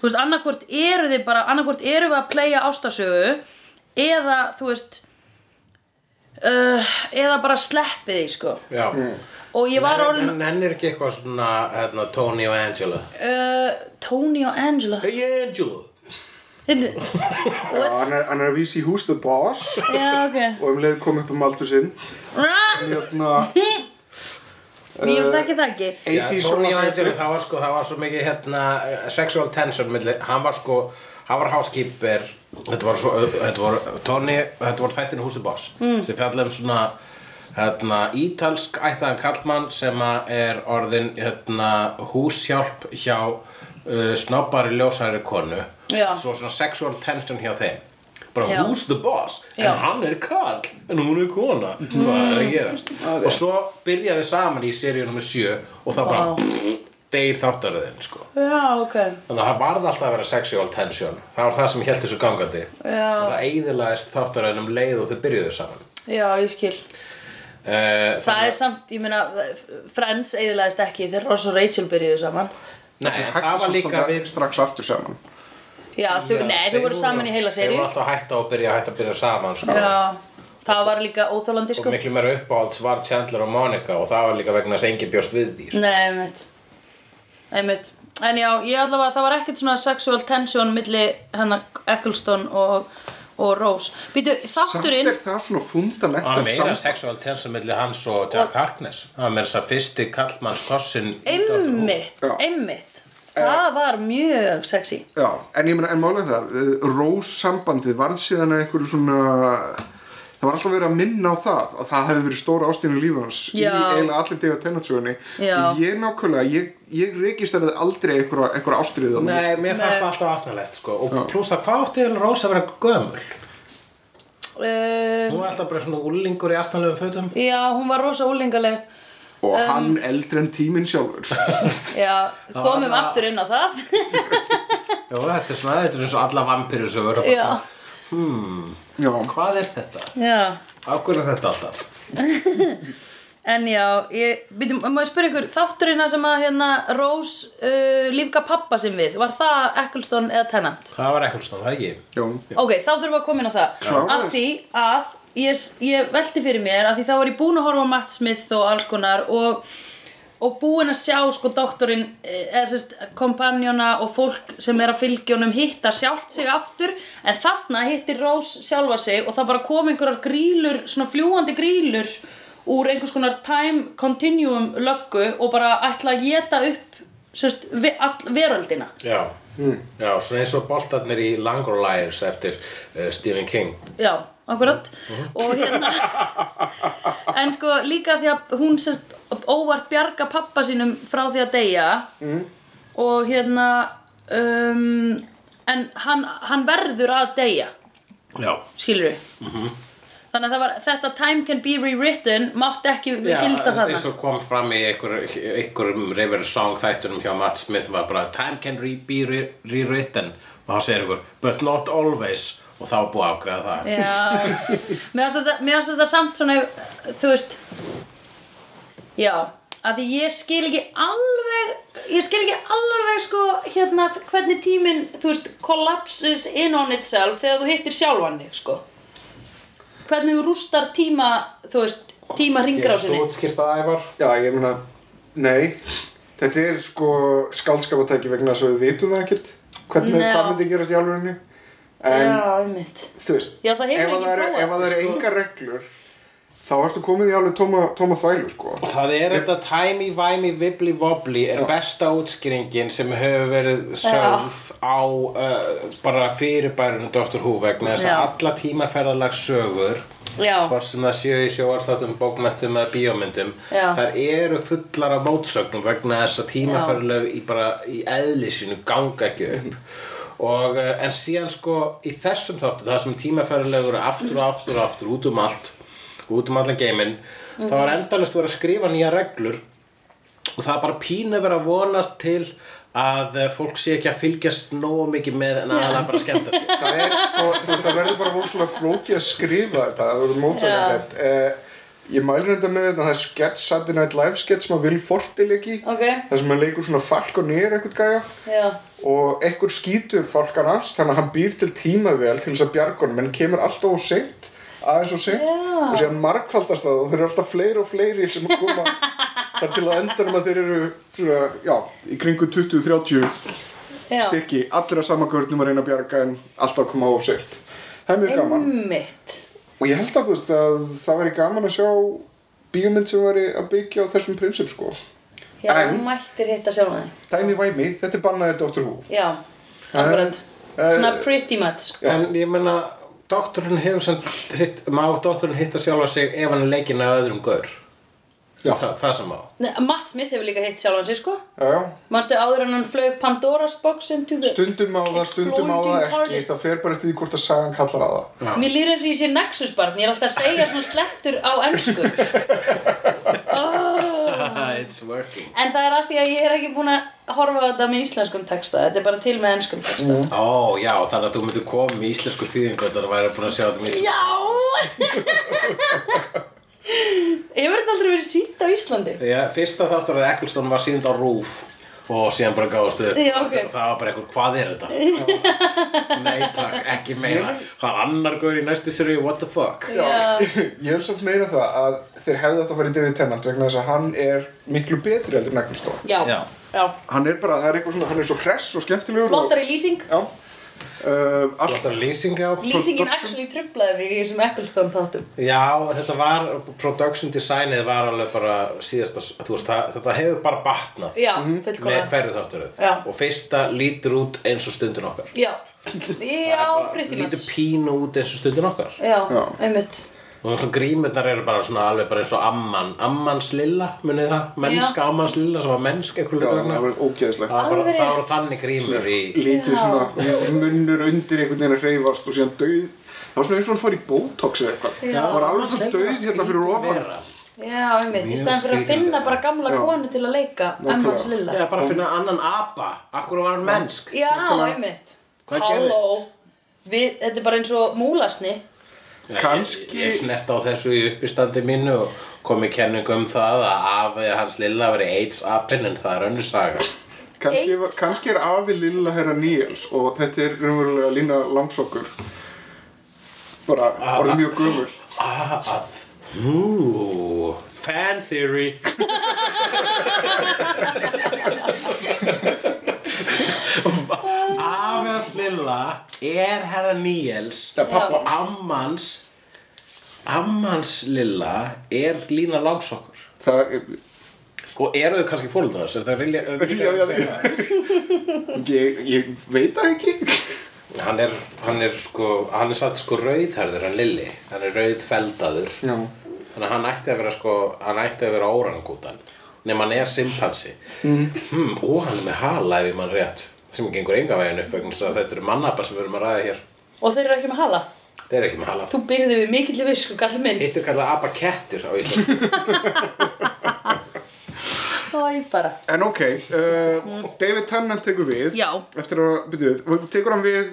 S4: þú veist, annarkvort eru þið bara annarkvort eru við að playa ástasögu eða þú veist uh, eða bara sleppið því sko
S2: já
S4: og ég var
S2: Nenn-
S4: orðin
S2: nenn- Nennir ekki eitthvað svona hérna, Tony og Angela
S4: uh, Tony og Angela
S2: Hey Angela
S4: Þetta-
S3: Já, hann er, hann er að vísi í Who's the Boss
S4: Já, ok.
S3: og um leið kom upp um aldur sinn
S4: Run!
S3: hérna
S4: Ég þekki það ekki.
S3: 80s
S2: Tony og Angela,
S3: sjónvarpsþættir.
S2: það var sko, það var svo mikið hérna eh, sexual tension milli, hann var sko, hann var háskiper þetta var svo, þetta var Tony, þetta var þættinu húsi boss mm. sem fjallar um svona hérna, ítalsk ættaðan kallmann sem að er orðin hérna, húsjálp hjá uh, snobbari ljósæri konu
S4: Já.
S2: svo svona sexual tension hjá þeim bara
S4: Já.
S2: who's the boss en
S4: Já. Mm.
S2: hann er karl en hún er kona hvað er að gerast og svo byrjaði saman í seríu nr. 7 og það bara
S4: Vá.
S2: pff, deyr þáttaröðin sko.
S4: Já, ok.
S2: þannig að það varð alltaf að vera sexual tension það var það sem held þessu gangandi
S4: Já.
S2: það eiðilaðist þáttaröðin um leið og þau byrjuðu saman
S4: Já, ég skil.
S2: uh,
S4: Það er samt, ég meina, Friends eiginlegaðist ekki þegar Ross og Rachel byrjuðu saman.
S2: nei, en
S3: Þeir hættu
S2: það var
S3: samt
S2: líka
S3: þarna
S2: við
S3: strax aftur saman
S4: Já, þau, nei, þau voru saman í heila
S2: þeir
S4: seríu.
S2: voru alltaf að hætta og byrja, hætta að byrja saman sko.
S4: Já, það var líka óþólandi,
S2: og
S4: sko.
S2: miklu meira uppáhalds var Chandler og Monica og það var líka vegna þess að enginn bjóst við því sko.
S4: Nei, einmitt. Einmitt. En já, ég allavega, það var ekkert svona sexual tension milli hennar Eccleston og, og Rose. Býtu,
S3: samt
S4: þátturinn...
S3: er það svona fundament
S2: Það var meira sexual tension milli hans og Jack Harkness Það var meira þess að fyrsti kallmanns kossin
S4: Einmitt,
S3: Já.
S4: einmitt.
S2: Eh.
S4: Það var mjög sexy.
S3: Já, en ég meina, en málið er það, eh, Rose sambandið varð síðan að einhverju svona, það var alltaf verið að minna á það, að það hefði verið stóra ástíðinu lífans í
S4: Já.
S3: eiginlega allir dega tennatsögunni.
S4: Já.
S3: Ég nákvæmlega, ég, ég registraði aldrei einhverja, einhverja ástriðið á mér.
S2: Nei, mér fannst það alltaf aðsnalegt sko. Og pluss það, hvað átti Ellen Rose að vera gömul?
S4: Uh,
S2: Hún var alltaf bara svona úlingur í aðsnalegum fötum
S4: Já, hún var rosa úlingaleg
S3: Og
S4: Um.
S3: hann eldri en tíminn sjálfur.
S4: Já, komum
S2: alla-
S4: aftur inn á það
S2: Já, þetta er svona, þetta er eins og alla vampirur sem vera
S4: Já,
S3: Já,
S2: Hvað er þetta?
S4: já
S2: Af hverju er þetta alltaf?
S4: En já, ég, býtum, má ég spyrja ykkur Þátturinn þar sem að hérna Rose uh, lífga pappa sinn við Var það Eccleston eða Tennant?
S2: Það var Eccleston, það ekki
S3: já,
S4: Ok, þá þurfum við að koma inn á það
S3: Klárt.
S4: Af því að ég, ég velti fyrir mér Af því þá var ég búin að horfa á Matt Smith og alls konar Og, og búin að sjá sko doktorinn eh, Eða sérst kompanjóna og fólk sem er að fylgja honum Hitta sjálft sig aftur En þarna hittir Rose sjálfa sig Og það bara kom einhverjar grílur Svona fljúandi grílur Úr einhvers konar time continuum löggu Og bara ætla að geta upp Sérst, ve, all, veröldina
S2: Já Já, svona eins og boltarnir í Langor Liars eftir uh, Stephen King
S4: Já, akkurat Og hérna En sko líka því að hún sérst óvart bjarga pappa sínum frá því að deyja
S2: Mhm.
S4: Og hérna um, En hann, hann verður að deyja
S2: Já
S4: Skilur við
S2: Mhm.
S4: Þannig að það var, þetta time can be rewritten Mátt ekki gilda þarna
S2: eins og kom fram í einhver- einhverjum River Song þættunum hjá Matt Smith var bara Time can re be re rewritten og hann segir ykkur But not always og þá er búið að ágreða það
S4: Já, mér finnst þetta, mér fannst þetta samt svona, þú veist, já, að því ég skil ekki alveg, ég skil ekki alveg sko hérna hvernig tíminn, þú veist, collapses in on itself þegar þú hittir sjálfan þig sko. Hvernig þú rústar tíma, þú veist, tíma ringrásinni.
S2: útskýrt að ævar?
S3: já, ég meina, nei, þetta er sko skaldskapatæki vegna þess að við vitum það ekkert, hvernig,
S4: Já.
S3: hvað myndi gerast í alvegurinu. En,
S4: Já, einmitt.
S3: þú veist,
S4: Já, það hefur
S3: ef að
S4: enginn
S3: það eru-
S4: prófað. sko.
S3: ef að það eru engar reglur þá ertu komin í alveg tóma, tóma þvælu sko
S2: Það er þetta tæmi, væmi, vibli, vobli er besta útskýringin sem hefur verið sögð á uh, bara fyrirbærinu Dr. Who vegna þess að
S4: Já.
S2: alla tímaferðalags sögur
S4: Já.
S2: hvort sem það séu í sjóarstáttum, bókmyndum eða bíómyndum
S4: Já.
S2: þar eru fullar af mótsögnum vegna þess að tímaferðulegu í, bara- í eðlisinu ganga ekki upp og eh, en síðan sko í þessum þáttu það sem tímaferðulegu eru aftur og aftur og aftur út um allt út um allan geiminn þá
S4: Mhm.
S2: er endalist verið að skrifa nýja reglur og það er bara pínu verið að vonast til að eh, fólk sé ekki að fylgjast nógu mikið með en að það bara skemmta sér
S3: það er sko, þú veist, það verður bara vókslega flókið að skrifa þetta, það verður mótsækjafett eh, ég mælir þetta með þetta það er sketch, Saturday Night Live sketch sem að Will Forte leiki,
S4: Ok.
S3: það sem hann leikur svona falk og nýr eitthvað gæja
S4: Já.
S3: og ekkur skýtur fólkan hans þannig að hann býr til tímavél til þess að bjargunum en kemur alltaf og seint aðeins og seint og síðan markfaldast það og þeir eru alltaf fleiri og fleiri sem að koma þar til að endanum að þeir eru svona, já, í kringu 20-30
S4: Já.
S3: stykki allir að samakvörnum að reyna að bjarga en alltaf að koma á og seint það er mjög gaman
S4: Mitt.
S3: og ég held að þú veist að það væri gaman að sjá bíómynd sem væri að byggja á þessum prinsip sko
S4: Já,
S3: En-
S4: þú mættir hitta sjálfan þig.
S3: Dæmi væmi, þetta er bannaðið Dr. Who
S4: Já. Akkurat.
S3: eh,
S4: Svona pretty much.
S2: en ég meina doktorinn hefur sem hitt, má doktorinn hitta sjálfa sig ef hann er leikinn af öðrum gaur
S3: Já.
S2: það, það sem má
S4: Nei, Matt Smith hefur líka hitt sjálfan sig, sko.
S3: já, já
S4: Manstu áður en hann flög Pandora's box into the...
S3: stundum á það, stundum á það
S4: Exploding
S3: ekki
S4: TARDIS.
S3: það fer bara eftir því hvort að sagan kallar á það
S4: Mér líður eins og ég sé Nexus barn, ég er alltaf að segja svona slettur á ennsku.
S2: it's working
S4: En það er að því að ég er ekki búin að horfa á þetta með íslenskum texta, þetta er bara til með ennskum
S2: Mm.
S4: texta.
S2: ó já þannig að þú myndir koma í íslensku þýðingu þannig að væri búin að sjá þetta mjög
S4: Já! ég verði aldrei verið sínt á Íslandi.
S2: Já, fyrsta þáttur að Eccleston var sínd á Rúf og síðan bara gáðast upp
S4: Já, ok.
S2: það var bara eitthvað, hvað er þetta? Nei takk, ekki meira Það er annar gaur í næstu sér what the fuck
S4: Já,
S3: ég hef samt meira það að þeir hefðu átt að fara í David Tennant vegna þess að hann er miklu betri heldur en Ecclestone
S4: já, já.
S2: Já.
S3: hann er bara, það er eitthvað svona, hann er svo hress og skemmtilegur
S4: Flottari lýsing.
S3: og, já, uh, allt,
S2: Þetta er lýsing á
S4: Lýsingin
S3: Production.
S4: actually trublaði mig í þessum Eccleston þáttum.
S2: Já, þetta var, production designið var alveg bara síðasta þú veist, það, þetta hefur bara batnað
S4: Já,
S2: með
S4: fullkomlega.
S2: hverju þátturuð
S4: Já.
S2: og fyrsta lítur út eins og stundin okkar
S4: Já, já, pretty
S2: Lítur
S4: much.
S2: pínu út eins og stundin okkar
S4: Já,
S3: Já.
S4: einmitt.
S2: Og svo grímurnar eru bara svona alveg bara eins og amman, ammans lilla, munið það, mennska ammans lilla sem var mennsk eitthvað
S3: já,
S2: hlutur
S3: það var ógeðslegt
S2: Það var
S4: Alveg
S2: það voru þannig grímur í,
S3: lítið svona, munnur undir einhvern veginn að hreyfast og síðan dauð það var svona eins og hann fari í botox eða eitthvað
S4: Já.
S3: það var alveg svona dauð hérna fyrir
S2: Skrýtin
S3: ofan
S2: vera.
S4: Já, einmitt, í
S2: Mjög
S4: staðan fyrir að
S2: skrýtin
S4: finna
S2: vera.
S4: bara gamla
S3: Já.
S4: konu til að leika Emmans Lilla
S2: Eða bara að finna annan apa, akkur var hann mennsk.
S4: Já, einmitt
S2: Hvað
S4: Halló Við, þetta er bara eins og múlasni
S3: Kannski-
S2: Ég, ég snert á þessu í uppistandi mínu og kom í kenningu um það að afi hans lilla veri AIDS-apinn en það er önnur saga.
S3: Kannski,
S4: Eitt.
S3: kannski er afi Lilla herra Níels og þetta er raunverulega Lína Langsokkur bara orðið mjög gömul Ah,
S2: Ooh, fan theory. Afi hans lilla er herra Níels
S3: Já, pabbi.
S2: og ammans ammans lilla er Lína Langsokkur
S3: það er Sko-
S2: og eru þau kannski fólundar þess er það vilja,
S3: já, já,
S2: vilja
S3: ég, ég veit það ekki
S2: hann er hann er sko hann er satt sko rauðherður hann Lilli hann er rauðfeldaður
S3: já.
S2: Þannig að hann ætti að vera sko, hann ætti að vera órangútan nema hann er simpansi
S3: Mhm.
S2: hmm, og hann er með hala ef ég mann rétt sem gengur enga veginn upp vegna þess að þetta eru mannapar sem við erum að ræða hér
S4: Og þeir eru ekki með hala
S2: þeir eru ekki með hala
S4: Þú byrðið við mikill visku, gall minn
S2: Hitt er kallað abakettur á Íslandu
S4: Æ, bara
S3: en ok uh, David Tennant tekur við
S4: Já.
S3: eftir að, byrju við, tekur hann við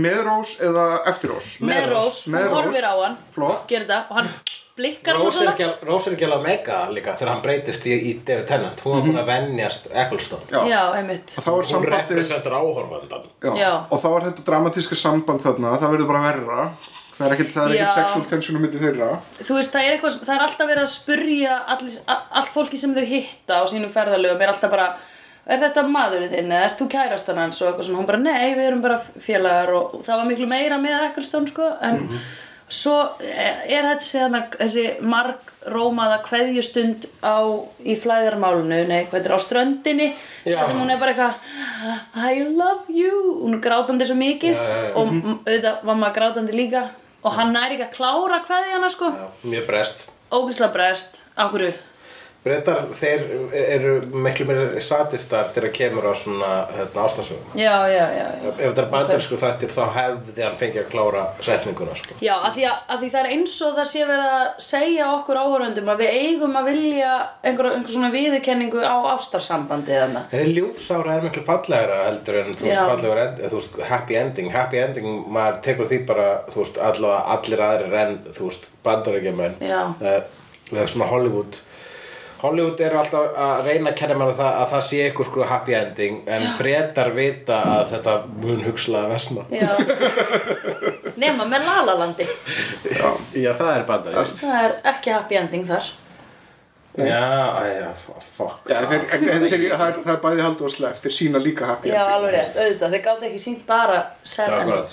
S3: með rós eða eftir rós
S4: Með Rós,
S3: Með
S4: hún
S3: Rós.
S4: horfir á hann
S3: flott,
S4: Gerir þetta og hann blikkar
S2: Rós er
S4: rosalega.
S2: ekki al- Rós er ekki alveg að meika það líka þegar hann breytist í, í David Tennant hún var búin að venjast Eccleston
S3: Mhm. já,
S4: Já, einmitt
S3: þá er
S2: hún
S3: sambandið
S2: representar áhorfandan
S3: já.
S4: Já.
S3: og þá er þetta dramatíska samband þarna það verður bara verra það er ekkert, það er ekkert
S4: Já.
S3: sexual tensionum myndi þeirra
S4: Þú veist, það er, eitthvað, það er alltaf verið að spurja all, allt fólki sem þau hitta á sínum ferðalögum er alltaf bara er þetta maðurinn þinn eða ert þú kærastan hans og eitthvað svona, hún bara nei, við erum bara félagar og það var miklu meira með Ecclestone sko, en
S2: Mhm.
S4: svo eh, er þetta séðan þessi margrómaða kveðjustund á, í flæðarmálinu, nei, hvað er á ströndinni
S2: Já.
S4: þar sem hún er bara eitthvað I love you, hún er grátandi svo mikið
S2: Já, Mhm. já, já.
S4: og m- auðvitað var maður grátandi líka og hann næri ekki að klára kveði hana sko
S2: Já, mjög brest
S4: ógislega brest, á hverju
S2: Breytar, þeir eru miklu meira satistar til að kemur á svona hérna, ástarsögum
S4: já, já, já, já.
S2: Ef þetta er bandarsku þættir þá hefði hann fengið að klára setninguna sko.
S4: Já, af því, að, af því það er eins og það sé verið að segja okkur áhöröndum að við eigum að vilja einhver, einhver svona viðurkenningu á ástarsambandi þarna.
S2: Þeir ljúfsára er miklu fallegra heldur en þú veist,
S4: Já.
S2: fallegur, end- eða, þú veist, happy ending Happy ending, maður tekur því bara þú veist, allavega allir aðrir en þú veist, bandaríkjamenn
S4: Já.
S2: Eh, eða svona Hollywood Hollywood eru alltaf að reyna að kenna mér að það, að það sé ykkur sko happy ending en breytar vita að þetta mun hugslega vesna
S4: Já. Nema með Lalalandi.
S2: Já, það er bandaríkjamenn
S4: Það er ekki happy ending þar.
S2: Já, æ, já, f- fuck
S3: Já, þeir, en, en þeir, það, er, það er bæði hald og sleft, þeir sína líka happy
S4: Já,
S3: ending.
S4: alveg rétt, auðvitað. Þeir gátt ekki sínt bara sad ending.
S2: akkurat.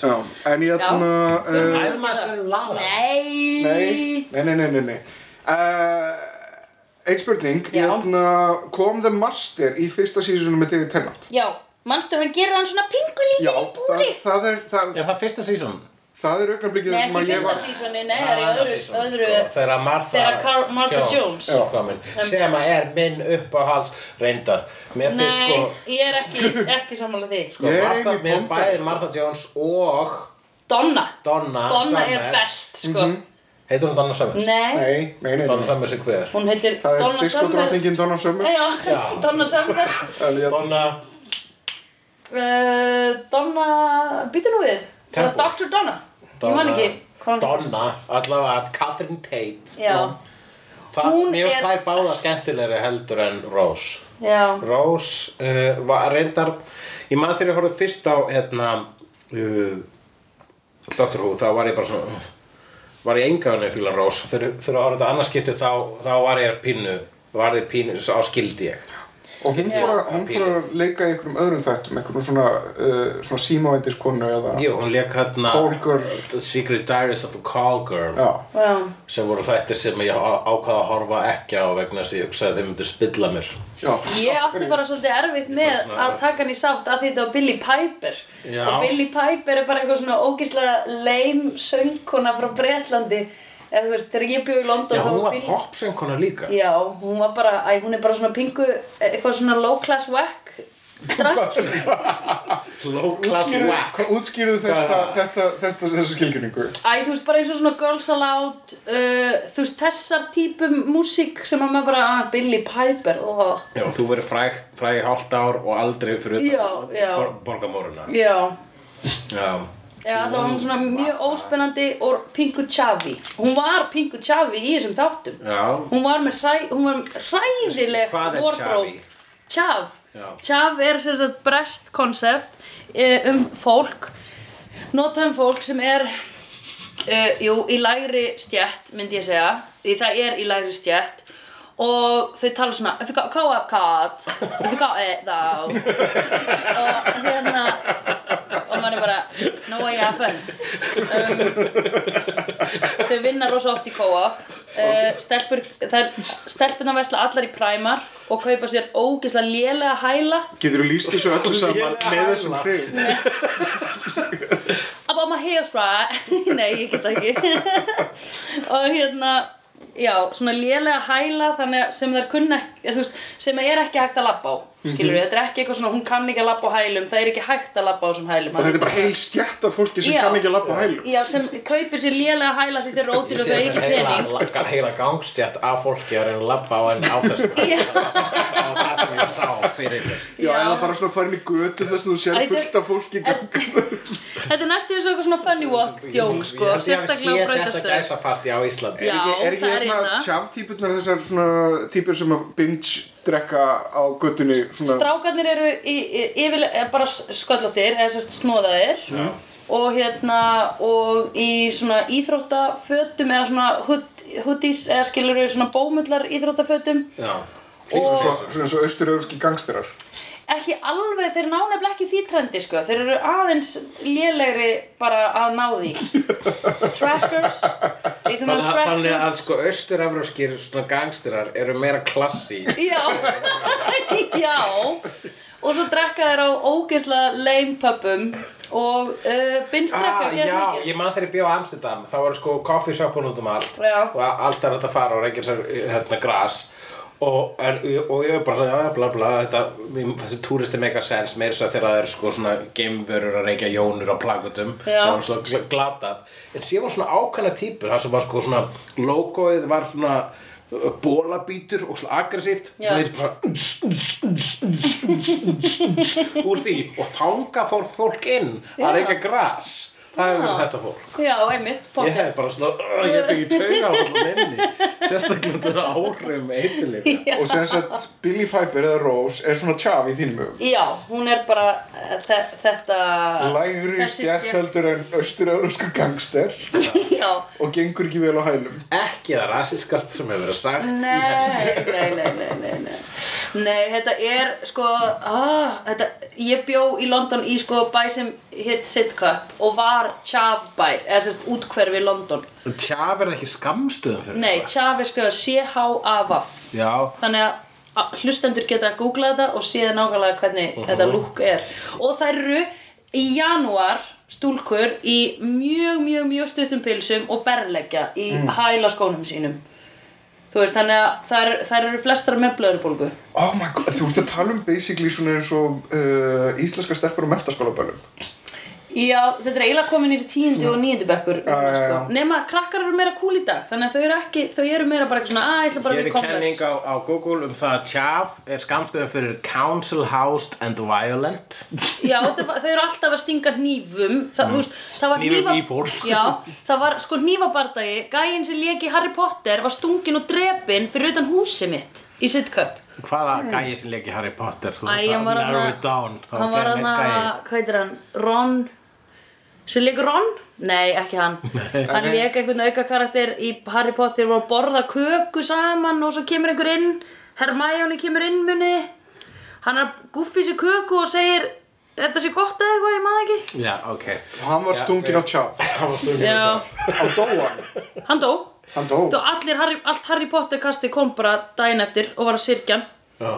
S3: Já, en ég
S4: Já.
S3: ætla
S4: Þurfum
S3: uh,
S4: að-
S2: Æðum að spyrja um Lala
S4: Nei.
S3: Nei, nei, nei, nei, nei, nei. Uh, Einn spurning,
S4: Já.
S3: ég ætla kom The Master í fyrsta sísunum með David Tennant?
S4: Já, mannstu hann gerir hann svona pingulíkir í
S3: það,
S4: búri?
S3: það er, það,
S2: Er það fyrsta season?
S3: það er augnablikið
S4: Nei,
S3: þar sem
S4: ekki
S3: að ég
S4: fyrsta
S3: var...
S4: sísoni, nei, það er í
S2: Annað
S4: öðru,
S2: season,
S4: öðru.
S2: sko, þegar að Martha,
S4: þegar Carl- Martha Jones.
S2: Já. komin, sem að er minn uppáhals reyndar mér
S4: Nei,
S2: finnst sko,
S4: ég er ekki, ekki sammála því.
S2: sko
S3: Ég er
S2: Martha,
S3: eiginlega
S2: mér
S3: í
S2: finnst
S3: bónda,
S2: bæði
S3: sko.
S2: Martha Jones og
S4: Donna.
S2: Donna
S4: Donna er
S2: Summers.
S4: best, sko.
S2: Mhm. heitur hún Donna Summers?
S4: Nei.
S3: Nei, nei, nei,
S2: Donna
S3: nei.
S2: Summers er hver?
S4: Hún heitir
S3: Það er
S4: Donna Summer.
S3: diskodrottningin Donna Summer.
S4: Já, Donna Summer.
S3: En ég-
S2: Donna
S4: Uh, Donna, býtu nú við. Það er
S2: Temple.
S4: Dr. Donna. Ég man
S2: Donna,
S4: ekki. hvað hún-
S2: Donna allavega Catherine Tate
S4: Já,
S2: það,
S4: Hún
S2: mér
S4: er
S2: finnst það báða
S4: best.
S2: skemmtilegri heldur en Rose
S4: já.
S2: Rós uh, var reyndar ég man þegar ég horfði fyrst á hérna uh, Dr. Who þá var ég bara svona uh, var ég enga henni fíla Rós þegar þegar að horfa þetta annarskipti þá, þá var ég pínu var ég pínu, á skildi ég
S3: Og hún fór, að,
S2: Já,
S3: hún fór
S2: pínu.
S3: að leika í einhverjum öðrum þættum, einhverjum svona, uh, svona símavendiskonu eða...
S2: Jú, hún leik hérna
S3: Call Girl.
S2: The Secret Diaries of a Call Girl
S3: Já,
S4: Já.
S2: sem voru þættir sem ég á- ákvað að horfa ekki á vegna þess að ég hugsaði að þeir myndu spilla mér
S3: já.
S4: Ég átti bara svolítið erfitt með að taka hann í sátt af því þetta var Billy Piper
S2: Já.
S4: og Billy Piper er bara eitthvað svona ógeðslega leim söngkona frá Bretlandi eða þú veist, þegar ég bjóð í London
S2: Já,
S4: þá
S2: hún var
S4: Billie-
S2: popsöngkona líka
S4: Já, hún var bara, æ, hún er bara svona pingu eitthvað svona low class whack drast
S2: Low class
S3: Útskýrðu-
S2: whack
S3: hvað- Útskýrðu þetta, þetta, þetta, þessu skilgjöningu.
S4: Æ, þú veist, bara eins og svona Girls Aloud uh, þú veist, þessar típum músík sem að maður bara, að Billy Piper oh.
S2: Já, þú verið fræg, fræg í hálft ár og aldrei fyrir utan
S4: Já, já.
S2: bor- borgarmóruna.
S4: Já,
S2: Já.
S4: Já, allavega hún er svona mjög óspennandi og pingu tjafi. Hún var pingu tjafi í þessum þáttum.
S2: Já.
S4: Hún var með hræ, hún var með hræðileg
S2: Hvað er
S4: wardrobe.
S2: Chavi?
S4: Tjaf.
S2: Já.
S4: Tjaf er sem sagt brest konsept eh, um fólk, notað um fólk sem er, uh, jú, í lægri stjætt, myndi ég segja. Því það er í lægri stjætt. Og þau tala svona, if you got co-op cards, if you got it though. og hérna, og maður er bara, no way I haven't. Þau vinna rosa oft í co-op uh, stelpur, þær- Stelpurnar vesla allar í præmar og kaupa sér ógeðslega lélega hæla
S3: Getur þú líst þessu öllu saman
S2: Lélega
S3: með þessum
S2: hæla.
S3: hrif?
S4: Abba maður hefast bara Nei, ég get það ekki Og hérna Já, svona lélega hæla þannig að sem þær kunna ekki, eða þú veist, sem er ekki hægt að labba á skilur
S2: Mhm.
S4: við, þetta er ekki eitthvað svona, hún kann ekki að labba á hælum það er ekki hægt að labba á þessum hælum
S3: Og þetta er bara heil stjætt af fólki sem
S4: Já.
S3: kann ekki að lappa hælum.
S4: Já, sem kaupir sér lélega hæla því þeir eru
S2: Ég
S4: ódýr og
S2: sé þetta
S4: þau ekki pening
S2: heila, la- heila gangstjætt af fólki að reyna að labba á henni á þessu. á það sem ég sá fyrir mér.
S3: Já, eða bara svona farin í götu þess að þú sér
S4: Æ, þetta-
S3: fullt af fólki.
S4: Þetta er næstu eins og eitthvað svona funny walk djók
S2: Ég held
S4: sko,
S2: ég hafi
S4: sérstaklega á
S2: séð Þetta
S4: brautastöð
S2: gæsaparti á Íslandi.
S4: Já,
S3: er ekki
S4: það er
S3: hérna
S4: hérna
S3: tjaftípurnar þessar svona típur sem að binge drekka á götunni svona...
S4: Strákarnir eru í, í, yfir, eh, bara sköllóttir, eða sérst snóðaðir og hérna og í svona íþróttafötum eða svona hood, hoodies eða skilur við svona bómullar íþróttafötum
S2: Já.
S3: Svona svo- svona svo austur-európski gangsterar
S4: ekki alveg, þeir ná nefnilega ekki því trendi sko, þeir eru aðeins lélegri bara að ná því trackers
S2: Þannig,
S4: einhvern
S2: að-
S4: veginn
S2: þannig að
S4: tracksuits
S2: sko austur-evróskir svona gangstirar eru meira klassi
S4: Já, já Og svo drekka þær á ógeðslega lame pubum og uh, bindstrekka
S2: Ah, já, ég man þegar ég bjó á Amsterdam þá var sko koffisjópun út um allt
S4: Já.
S2: og alls það er þetta fara og reyngjur sér hérna gras og, en, og ég var bara svona, já, bla bla þetta, mér- þessi túristi mega sens meira þess að þegar það eru sko svona geimverur að reykja jónur á plakutum
S4: Já.
S2: sem var svona gl- glatað en síðan var svona ákveðna típur það sem var sko svona logoið var svona uh, bólabítur og svona aggressíft
S4: Já.
S2: svona þeir bara úr því og þanga fór fólk inn að reykja gras það hefur verið þetta fólk
S4: Já, einmitt,
S2: ég
S4: pottið
S2: hef bara svona, "Ugh, ég fengi tauga á allan inni sérstaklega þetta áhrifum eitthilif
S3: og sem sagt Billy Piper eða Rose er svona tjaf í þínum hugum
S4: Já, hún er bara eh, þe þetta
S3: lægri
S4: þessi stétt.
S3: stjætthöldur en austur-eurósku gangster
S4: Já,
S3: og gengur ekki vel á hælum
S2: ekki það rasiskast sem hefur verið sagt
S4: nei, nei, nei, nei, nei, nei Nei, þetta er sko ah, þetta, Ég bjó í London í sko bæ sem hitt Sidcup og var Chavbær, eða sérst útkverfi í London
S2: tjaf er það ekki skamstöðum fyrir
S4: Nei,
S2: eitthvað?
S4: Chav er skrifað C-H-A-V
S2: já,
S4: þannig að- að hlustendur geta að googla þetta og séð nákvæmlega hvernig þetta lúk er og þær eru í janúar stúlkur í mjög, mjög, mjög stuttum pilsum og berleggja í
S3: Mm.
S4: hæla skónum sínum þú veist, þannig að þær, þær eru flestar með blöðrubólgu
S3: oh my god, þú ert að tala um basically svona eins og uh, íslenska stelpur á mentaskólaböllum
S4: Já, þetta er eiginlega komin í tíundu og níundu bekkur
S3: já,
S4: sko.
S3: já.
S4: nema að krakkar eru meira kúl í dag þannig að þau eru ekki, þau eru meira bara eitthvað svona að, ég ætla bara að
S2: hér
S4: vera
S2: er
S4: í konvers
S2: kenning á, á Google um það að tjaf er skamstöðum fyrir council housed and violent
S4: Já, þetta var, þau eru alltaf að stinga hnífum Þa, mm. veist, Það var
S2: Hnífum
S4: hnífa-
S2: í fólk.
S4: Já, það var sko hnífabardagi Gæinn sem lék í Harry Potter var stungin og drepin fyrir utan húsið mitt í sitköp
S2: hvaða gæi sem leik í Harry Potter þú
S4: Hmm. Æ, hann var
S2: narrow
S4: þarna-
S2: it down þá
S4: Hann var
S2: fer
S4: hann
S2: hann eitt
S4: að,
S2: gæi
S4: hvað heitir hann, Ron sem leikur Ron? Nei, ekki hann Hann leik einhvern auka karakter í Harry Potter var að borða köku saman og svo kemur einhver inn Hermione kemur inn munið þið? Hann er að guffi sér köku og segir Þetta sé gott eða eitthvað, ég maður ekki
S2: já, ok
S3: og hann var stungin á tjaf
S4: Já,
S3: á dóan,
S4: hann dó
S3: hann dó
S4: Þú allir, Harry, allt Harry Potter kasti kom bara daginn eftir og var að sirkja hann.
S2: já,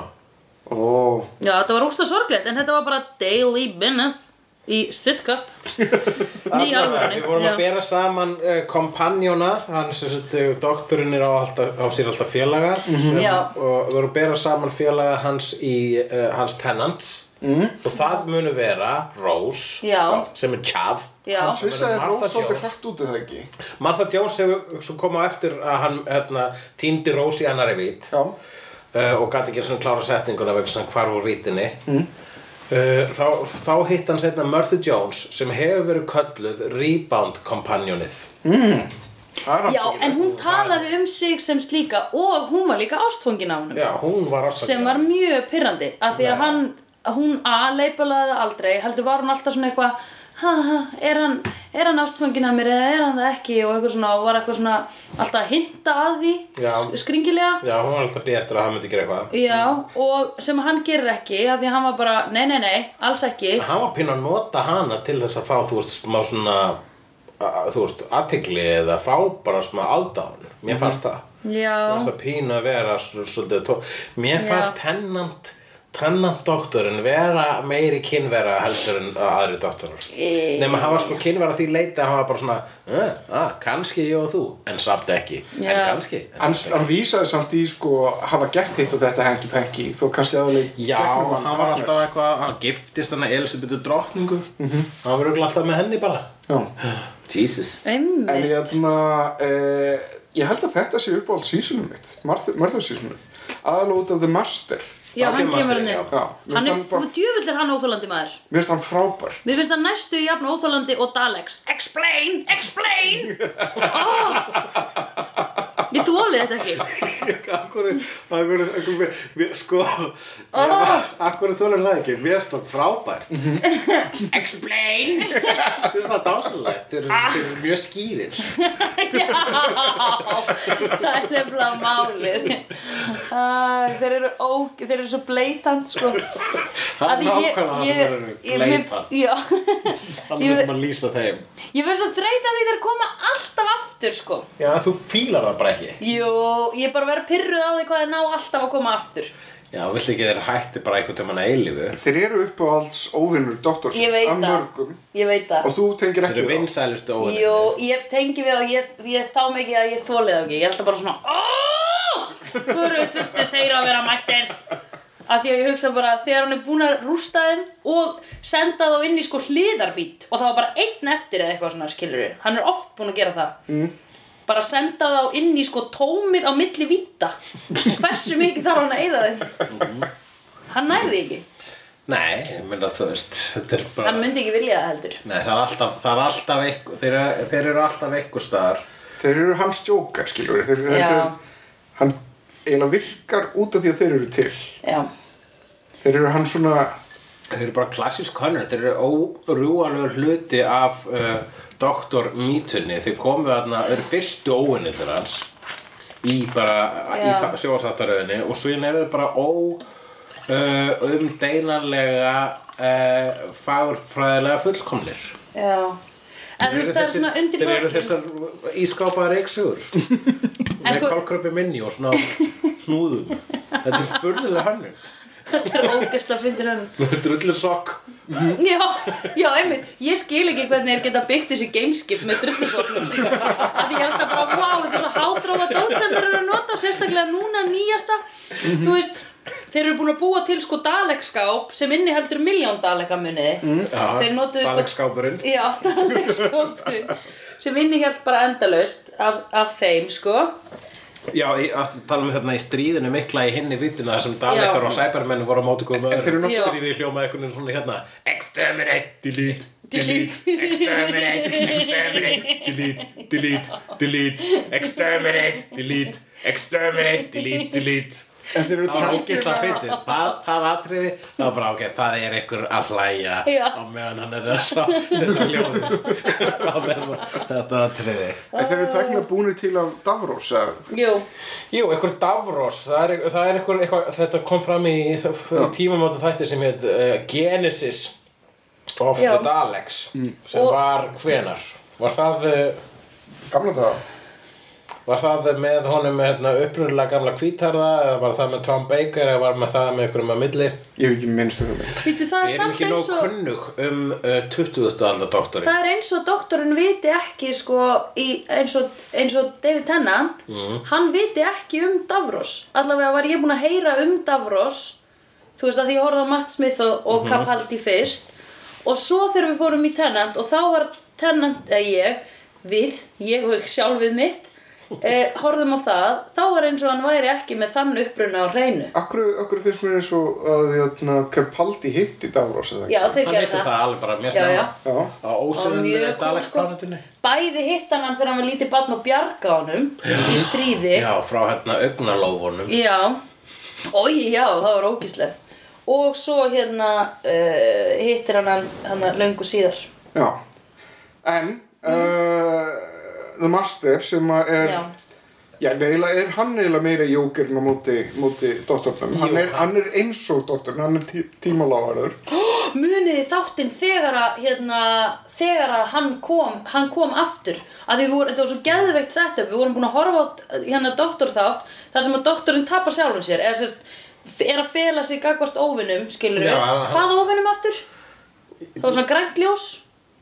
S3: oh.
S4: Já, þetta var óslega sorglegt en þetta var bara Daily Minutes í sitcup Nei, í alvörunni
S2: Við vorum að
S4: Já.
S2: bera saman uh, kompanjóna, hann sem sagt, uh, doktorinn er á, alltaf, á sér alltaf félaga sem,
S4: Mhm. Já.
S2: og við vorum að bera saman félaga hans í uh, hans tenants mm.
S4: Mhm.
S2: og það munu vera Rose
S4: Já.
S2: sem er Chav
S4: Já.
S3: hann svissaði
S2: Martha
S3: Rose svolítið
S2: Jones.
S3: hrætt út eða ekki
S2: Martha Jones hefur sem kom á eftir að hann hérna, týndi Rose í annari vít
S3: já,
S2: uh, og gæti ekki svona klára setninguna vegna svona hvar úr vítinni mm. uh, þá, þá hitt hann setna Martha Jones sem hefur verið kölluð Rebound kompanjónið
S3: það er hann
S4: Já, en hún talaði um sig sem slíka og hún var líka ástfóngin á honum
S2: Já, hún var ástaklega
S4: sem var mjög pyrrandi af því að hann, hún að leipalaði aldrei heldur var hún alltaf svona eitthvað "Ha, ha, er hann, er hann ástfangin að mér eða er hann það ekki og eitthvað svona og var eitthvað svona alltaf að hinta að því
S2: Já.
S4: s- skringilega
S2: Já, hún var alltaf að bíða eftir að hann myndi gera eitthvað
S4: Já, og sem hann gerir ekki af því að hann var bara, nei, nei, nei, alls ekki
S2: Hann var pínu að nota hana til þess að fá, þú veist, smá svona a- þú veist, athygli eða fá bara smá aðdáun Mér
S4: Mhm.
S2: fannst það Mér
S4: Já,
S2: fannst það pínu að vera s- svolítið tó Mér
S4: Já.
S2: fannst tennant tennant doktorinn vera meiri kynvera heldur en aðri doktorar e... Nefnum hann var sko kynvera því leita að hann var bara svona, "Eh, ah, kannski ég og þú en samt ekki, en
S4: Já.
S2: kannski en
S3: hann, hann vísaði samt í sko hafa gert hitt og þetta hengi pengi þó kannski aðaleg
S2: Já, hann var alltaf eitthvað, hann giftist hann að Elisabetu drottningu Hann var örugglega alltaf með henni bara
S3: já.
S2: Mhm. Jesus
S3: en
S4: einmitt
S3: hérna eh, ég held að þetta sé uppáhald sísunum mitt mörður sísunum mitt aðalótað The Master
S4: Já,
S2: þá
S4: hann
S2: kemur
S4: kemur
S2: hann
S4: hann
S2: inn,
S4: inn
S3: já, mér
S4: Hann er,
S3: finnst bara-
S4: djöfull er hann óþólandi maður
S3: mér finnst hann frábær
S4: Mér finnst það næstu jafn óþólandi og Daleks Explain, explain oh! Ég þóli þetta ekki
S2: Akkur, akkur, akkur, við, sko
S4: Ah.
S2: Akkur þolir það ekki, við erum það frábært Explain Þú veist það dásalegt, þeir eru þeir eru mjög skýrir
S4: Það er nefnilega málið Æ, Þeir eru ó, þeir eru svo bleitant sko
S2: Það er
S4: Að
S2: nákvæmlega það sem þeir eru
S4: ég-
S2: Leitan,
S4: Já
S2: þannig
S4: ég-
S2: við sem að lýsa þeim
S4: Ég verð svo þreyt að því þeir koma alltaf aftur sko
S2: Já, þú fílar það bara ekki
S4: Jú, ég er bara verið pyrruð á því hvað þeir ná alltaf að koma aftur
S2: Já, vill ekki þeir hætti bara einhvern tímann að eilífu
S3: Þeir eru upp á alls óvinnur
S4: Ég
S3: doktorsins
S4: veit
S3: af
S4: það,
S3: mörgum
S4: ég veit það
S3: og þú tengir
S2: Þeir
S3: ekki
S2: eru vinsælustu óvinni
S4: Jú, ég tengi við og ég, ég þá mikið að ég þólið ekki Ég er alltaf bara svona "Ó, Hverju þurftu þeir að vera mættir Af því að ég hugsa bara Þegar hann er búin að rústa þeim Og senda þá inn í sko hliðarvít Og það var bara einn eftir eða eitthvað svona skilur Hann er oft búin að gera það mm. Bara senda þá inn í sko tómið á milli víta Hversu mikið þarf hann að eyða þeim Hann nærði ekki
S2: Nei, ég myndi að þú veist Þetta er bara
S4: Hann myndi ekki vilja það heldur
S2: Nei, það er alltaf, það er alltaf einhver, þeir, eru- þeir eru alltaf einhver staðar
S3: Þeir eru hans jókar skilur við. þeir,
S4: Já.
S3: þetta er- Hann eiginlega virkar út af því að þeir eru til
S4: Já,
S3: Þeir eru hann svona
S2: Þeir eru bara klassísk hönnur, þeir eru órjúalegur hluti af uh, Dr. Mítunni Þeir komu þarna, þeir eru fyrstu óinni þeir hans Í bara,
S4: Já.
S2: í sjóðsáttaröðinni Og svo er þeir bara ó uh, umdeinanlega uh, fagurfræðilega fullkomlir
S4: já En
S2: Þeir
S4: þú
S2: eru
S4: veist það er
S2: þessir-
S4: svona undir
S2: Þeir eru
S4: bókin.
S2: þessar ískápaðar reyksugur
S4: En
S2: Með
S4: sko-
S2: kálkröpi minni og svona hnúðum Þetta er furðilega hönnun
S4: Þetta er ógeðslega fyndin hann.
S2: Með drullu
S4: sko-
S2: sokk
S4: Já, já, einmitt. Ég skil ekki hvernig þeir geta byggt þessi gameskip með drullusvopnum síðan. Af því ég held að bara, wow, þetta er svo háþrófa dót sem þeir eru að nota, sérstaklega núna nýjasta.
S2: Mhm.
S4: Þú veist, þeir eru búin að búa til sko dalekskáp sem inniheldur miljón daleka muniði.
S2: Mhm.
S4: Þeir notuðu sko...
S2: Balegskápurinn
S4: Já, dalekskapurinn. Sem inniheld bara endalaust af, af þeim, sko.
S2: Já, ég átti að tala um þarna í stríðinu mikla í hinni vituna þar sem Dalekar
S4: Já.
S2: og Sæbermenn voru á móti góðum öðrum
S3: þeir eru
S4: Já.
S3: náttúrulega
S2: Stríði hljómaði einhvern veginn svona hérna Exterminate, delete, delete,
S4: Delete.
S2: exterminate, exterminate, delete, delete, delete, exterminate, delete, exterminate, delete, delete
S3: En þeir eru
S2: Það var
S3: tengir
S2: ógeðslega fyndið, það, það atriði, það var bara ok, það er einhver að hlæja
S4: Já.
S2: á meðan hann er að sá- setja hljóðið á þessa, þetta atriði.
S3: En þeir eru tæknilega búinir til af Davros eða-
S4: Jú,
S2: Jú, einhver Davros, það er, það er einhver, eitthvað, þetta kom fram í tímamóta þætti sem heit uh, Genesis of
S4: Já.
S2: the Daleks, sem
S4: Og-
S2: var hvenar? Var það, uh,
S3: Gamla það
S2: var það með honum hérna, upprunalega gamla kvítarða eða var það með Tom Baker eða var með það með einhverjum að milli?
S3: Ég hef ekki minnst um það
S4: býtu það er
S2: Við erum
S4: samt
S2: ekki nóg
S4: eins og...
S2: kunnug um uh, 20. aldar doktorinn.
S4: Það er eins og doktorinn viti ekki sko, í, eins, og, eins og David Tennant hann viti ekki um Davros allavega var ég búin að heyra um Davros þú veist að því ég horfði á Matt Smith og, og Capaldi fyrst og svo þegar við fórum í Tennant og þá var Tennant, eða ég við, ég og sjálf við mitt eh, horfðum á það þá var eins og hann væri ekki með þann uppruna á hreinu
S3: Akkur, akkur finnst mér eins og að hérna, Capaldi hitti Davros eða ekki?
S4: já þeir
S2: Hann
S4: gerðu
S2: heitir
S4: það,
S2: það alveg bara mjög
S4: Já,
S2: snemma.
S4: já.
S3: Já,
S2: Á ósynum með
S4: mjög cool,
S2: Daleks
S4: sko.
S2: plánetunni.
S4: bæði hittan hann þegar hann var lítið barn og bjarga honum í stríði
S2: Já, frá hérna augnalófunum.
S4: Já, ói, já, það var ógíslegt Og svo hérna uh, hittir hann hann, hann löngu síðar
S3: já. En
S4: Mm.
S3: uh, The Master sem að er
S4: Já,
S3: Já, eiginlega er hann eiginlega meira jókirn á móti, móti doktornum hann
S2: Jú,
S3: er, hann er eins og doktorn, hann er tí, tímalávarður
S4: muniði þáttinn þegar að, hérna, þegar að hann kom, hann kom aftur að því við vorum, þetta var svo geðveikt setup við vorum búin að horfa á hérna doktorþátt þar sem að doktorinn tapar sjálfum sér eða sérst, er að fela sig gagvart óvinum, skilur
S2: Já, hann-
S4: hvað óvinum aftur? Það var svona grænt ljós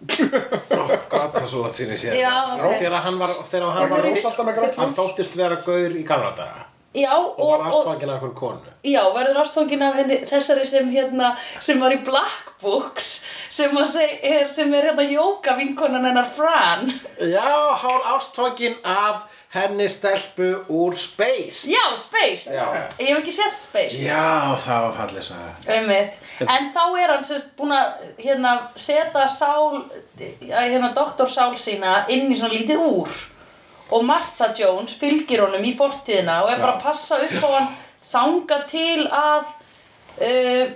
S2: Gott það svo að síni sér.
S4: Já, ok.
S2: Þegar hann var, þegar hann
S3: Hann
S2: var,
S3: er rosa alltaf með grænt
S2: hann
S3: ljós.
S2: þóttist vera gaur í Kanada.
S4: Já,
S2: Og var aðstfangin af einhver konu.
S4: Já, verður ástfangin af henni, þessari sem hérna, sem var í Black Books, sem, að seg, er, sem er hérna jóka vinkonan hennar Fran.
S2: Já, hann var aðstfangin af henni stelpu úr Space.
S4: Já, Spaced.
S2: Já.
S4: Ég hef ekki sett Spaced.
S2: Já, það var fallið saga.
S4: Einmitt. En þá er hann sérst búin að hérna, setja sál, að, hérna doktorsál sína inn í svona lítið úr. Og Martha Jones fylgir honum í fortíðina og er bara að passa upp á hann þanga til að uh,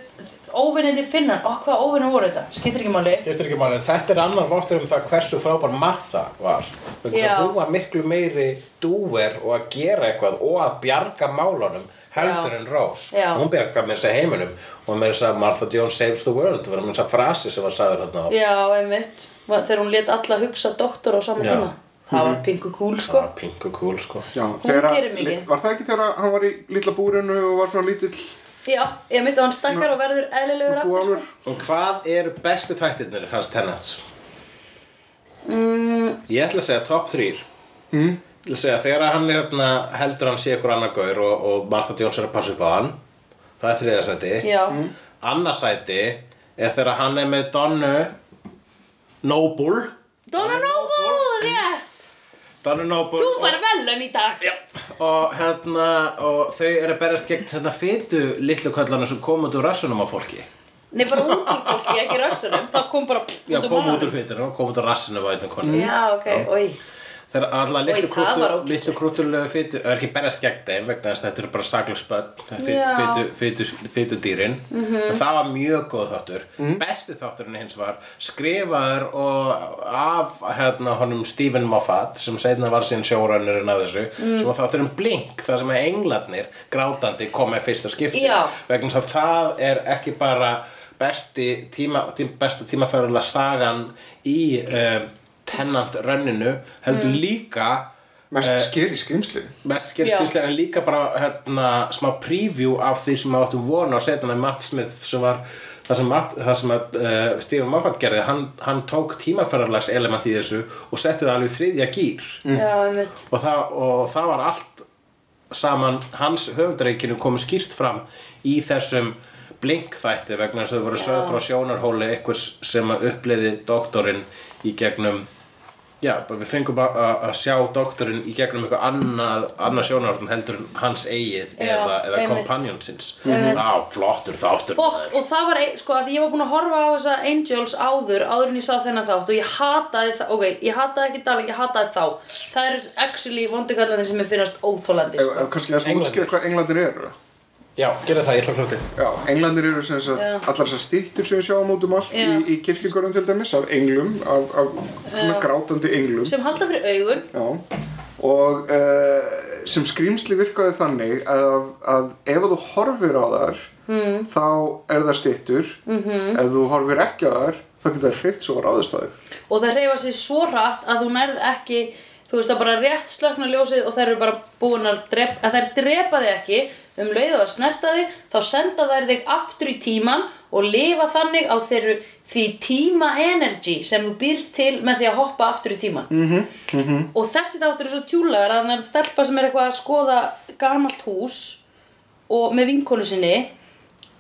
S4: óvinniði finna hann. Ó, hvað óvinni voru þetta? Skiptir ekki máli.
S2: Skiptir ekki máli, en þetta er annar vottur um það hversu frábær Martha var. Þannig
S4: Já.
S2: að hún var miklu meiri dúer og að gera eitthvað og að bjarga málunum heldur
S4: Já.
S2: en Rós.
S4: Já.
S2: Hún bjarga með þess að heiminum og með þess að Martha Jones saves the world, var með þess að frasi sem var sagður þarna á.
S4: Já, einmitt. Va- Þegar hún let alla hugsa doktor á sama
S2: Já.
S4: tíma. Það var pingu kúl, sko.
S2: Það var pink og cool sko.
S3: Já,
S4: gerir mikið.
S3: Var það ekki þegar hann var í litla búrinu og var svona lítill
S4: Já, ég myndi að hann stakkar og verður eðlilegur
S3: Þú
S4: aftur
S3: alveg
S4: sko.
S2: Og hvað eru bestu þættirnir hans Tennants? Mm. Ég ætla að segja top 3 mm. Ég ætla að segja þegar hann er, hérna, heldur hann sé ykkur annar gaur og, og Martha Jones er að passa upp á hann Það er þriða sæti
S4: Já,
S2: Mhm. Annað sæti er þegar hann er með Donnu Noble
S4: Donna Noble, rétt
S2: Donnu Noble
S4: Þú
S2: og-
S4: fær velun í dag
S2: Já, og hérna, og þau eru að berast gegn hérna fytu litlu kallana sem kom út úr rassunum á fólki.
S4: Nei, bara út úr fólki, ekki rössunum Það kom bara
S2: Já,
S4: út úr
S2: kom út
S4: málunum.
S2: úr fytunum, kom út úr rassunum á einnig konu.
S4: Já, ok, oi
S2: Þegar allar litlu,
S4: Oj, það var
S2: krúttu,
S4: ógeðslegt.
S2: litlu krúttulegu fytu, er ekki berast gegn þeim vegna þess að þetta eru bara saklagsbönn,
S4: Já.
S2: fytu, fytu, fytudýrin. Mm -hmm. Það var mjög góð þáttur. Besti þátturinn hins var skrifaður og af hérna honum Stephen Moffat sem seinna var síðan sjórannurinn af þessu sem var þátturinn Blink, þar sem að englarnir grátandi kom með fyrsta skipti
S4: Já.
S2: vegna þess að það er ekki bara besti tíma, tím, besta tímafærulega sagan í um, tennant rönninu heldur líka
S3: mest skeri skrimsli
S2: mest sker
S4: Já.
S2: skýrslega en líka bara hérna, smá preview af því sem við áttum vona á setjana með Matt Smith sem var það sem, Matt, það sem að, uh, Stephen Moffat gerði hann, hann tók tímafærulegs element í þessu og setti það alveg í þriðja gýr
S4: Já, einmitt
S2: og það, og það var allt saman hans höfundreikinu komið skýrt fram í þessum blinkþætti vegna þess að þau voru sögð frá sjónarhóli einhvers sem að uppliði doktorinn í gegnum já, bara við fengum að, að að sjá doktorinn í gegnum eitthvað annað, annað sjónarhóli heldur en hans eigið
S4: Já,
S2: eða, eða
S4: einmitt.
S2: kompanjónsins það var flottur þáttur
S4: Fokk, og það var, ein- sko, að því ég var búin að horfa á þessa Angels áður, áður en ég sá þennan þátt og ég hataði það, ok, ég hataði ekki Dalek, ég hataði þá. Það eru actually vondukallarnir sem ég finnast óþólandi,
S3: Ef-
S4: sko.
S3: ef eh, kannski að
S2: Englandir.
S3: útskýra hvað englandir eru
S2: já, gera það, ég ætla að klóti
S3: Já, englandir eru sem sagt
S4: Já.
S3: allar þessar stýttur sem við sjáum út um allt í,
S4: Já.
S3: í kirklingurum til dæmis af englum, af, af svona grátandi englum
S4: Sem halda fyrir augun,
S3: Já, og uh, sem skrýmsli virkaði þannig að, að ef þú horfir á þær
S4: Hmm.
S3: mm. þá er það stýttur
S4: Mhm.
S3: -hmm. ef þú horfir ekki á þær þá getur það hreitt svo ráðist á þig
S4: og það reyfa sig svo hratt að þú nærð ekki þú veist það bara rétt slökna ljósið og þær eru bara búin að drepa að þær drepa þig ekki um leið og að snerta þig þá senda þær þig aftur í tíman og lifa þannig á þeirru því tíma energy sem þú býrð til með því að hoppa aftur í tíman mm -hmm, mm -hmm. og þessi þáttur er svo tjúlegar að hann er stelpa sem er eitthvað að skoða gamalt hús og með vinkonu sinni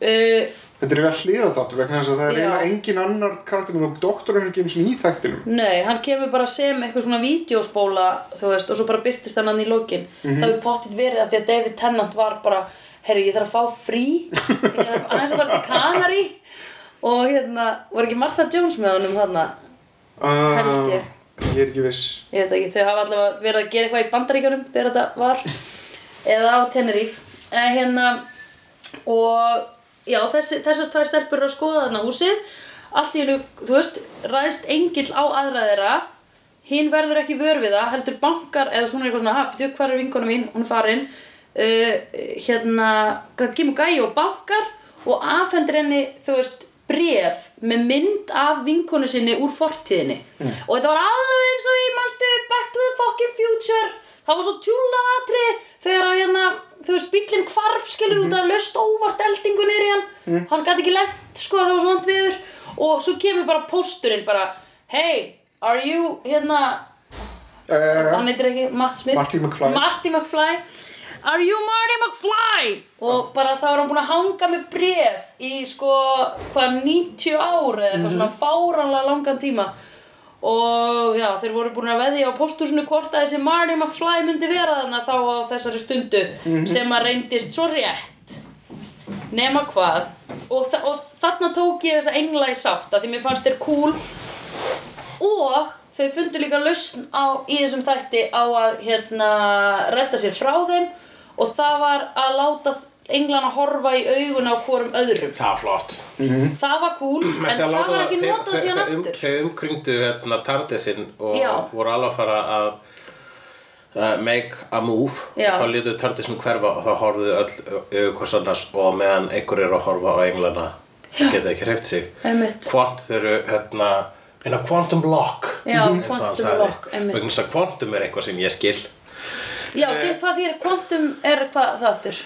S4: uh,
S3: Þetta er eiginlega hliða þáttur vegna þess að það er
S4: Já.
S3: eiginlega engin annar karakterinn og doktorinn er ekki eins og í þættinum.
S4: Nei, hann kemur bara sem eitthvað svona vídeospóla, þú veist, og svo bara byrtist hann hann í lokin. Það hefur pottitt verið að því að David Tennant var bara, herru, ég þarf að fá frí, ég þarf aðeins að fara til Kanari og hérna, var ekki Martha Jones með honum þarna?
S3: Uh,
S4: Held ég.
S3: Ég er ekki viss.
S4: Ég veit ekki, þau hafa allavega verið að gera eitthvað í bandaríkjunum þegar þetta var, eða á Tenerife. En hérna, og já, þessi, þessar tvær stelpur eru að skoða þarna húsið allt í hennu, þú veist, ræðist engill á aðra þeirra hinn verður ekki vör við það, heldur bankar eða svona eitthvað svona, haptu, hvar er vinkona mín hún er farin uh, hérna, hvað kemur gæi og bankar og afhendur henni, þú veist bref með mynd af vinkonu sinni úr fortíðinni og þetta var alveg eins og í mannstu Back to the fucking future það var svo tjúlað atri þegar að hérna þú veist bíllinn hvarf skilur út að löst óvart eldingu niður í hann hann gæti ekki lent sko það var svo vant viður og svo kemur bara pósturinn bara hey are you hérna
S3: Uh,
S4: hann heitir ekki Matt Smith
S3: Marty McFly.
S4: Marty McFly Are you Marty McFly? Og bara þá er hann búin að hanga með bref í sko, hvað, 90 ár eða eitthvað
S3: Mhm.
S4: svona fáranlega langan tíma og já, þeir voru búin að veðja á pósthúsinu hvort að þessi Marty McFly myndi vera þarna þá á þessari stundu
S3: Mhm.
S4: sem að reyndist svo rétt nema hvað og, þa- og þarna tók ég þessa engla í sátt að því mér fannst þeir cool og þau fundu líka lausn á, í þessum þætti á að hérna, redda sér frá þeim og það var að láta englana horfa í augun á hvorum öðrum
S2: Það var flott
S4: það var cool, en
S2: Með því að
S4: það
S2: láta
S4: var ekki
S2: þeir-
S4: notað
S2: þeir-
S4: síðan
S2: þeir um-
S4: aftur
S2: Þeir umkringdu hérna Tardisinn og
S4: Já.
S2: voru alveg að fara að uh, make a move
S4: Já.
S2: og þá létu Tardisinn hverfa og þá horfðu öll yfir hvers annars og meðan einhver eru að horfa á englana geta ekki hreift sig
S4: Einmitt.
S2: Quant þeir eru hérna in a quantum lock
S4: Já,
S2: eins og hann
S4: quantum
S2: sagði.
S4: lock, einmitt.
S2: vegna Eh. þess að quantum er eitthvað sem ég skil
S4: já, uh, hvað því er, quantum er hvað það aftur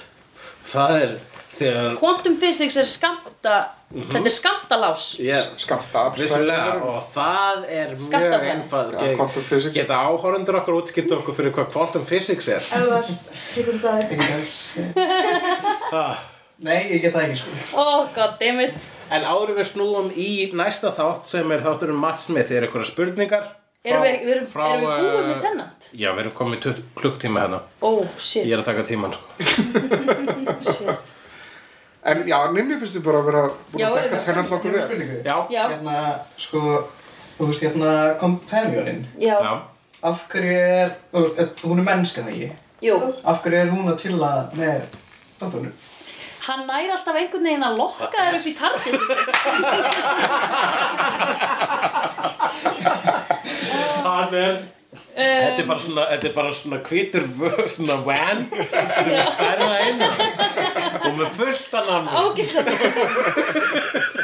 S2: það er þegar
S4: Quantum physics er skamta
S2: Mhm.
S4: Þetta er skamtalás
S2: yeah.
S3: Skamta
S2: Vissulega, og það er mjög
S4: Skammtafræði.
S2: einfald
S3: Ja, quantum physics.
S2: Geta áhorundur okkar útskipt okkur fyrir hvað quantum physics er
S5: Elvar, tökum það
S6: Nei, ég get það ekki sko
S4: Oh god damn it
S2: En áður við snúum í næsta þátt sem er þáttur um Matt Smith er eitthvað spurningar
S4: Erum við, við, erum,
S2: frá,
S4: erum við
S2: eh,
S4: búið með tennant?
S2: Já, við erum komin í klukktíma hérna
S4: Oh shit,
S2: Ég er að taka tíman sko
S4: shit
S3: En já, Ninni finnst þið bara að vera búin
S4: Já,
S3: að
S4: er
S3: dekka
S4: það?
S3: þennan
S6: Ég
S3: nokkuð
S6: hef
S3: vel.
S6: spurningu
S2: Já,
S4: Já,
S6: Hérna, sko, þú veist, hérna, kompanjónin
S4: já,
S2: já
S6: Af hverju er, þú veist, eh, hún er mennska það ekki
S4: jú
S6: Af hverju er hún að tilla með þáttunum?
S4: Hann næri alltaf einhvern veginn að lokka þér upp í tarfið
S2: Hann er Þetta er bara svona, þetta er bara svona hvítur vö- svona van sem er stærða einu og með fullt að námi
S4: Ágæslega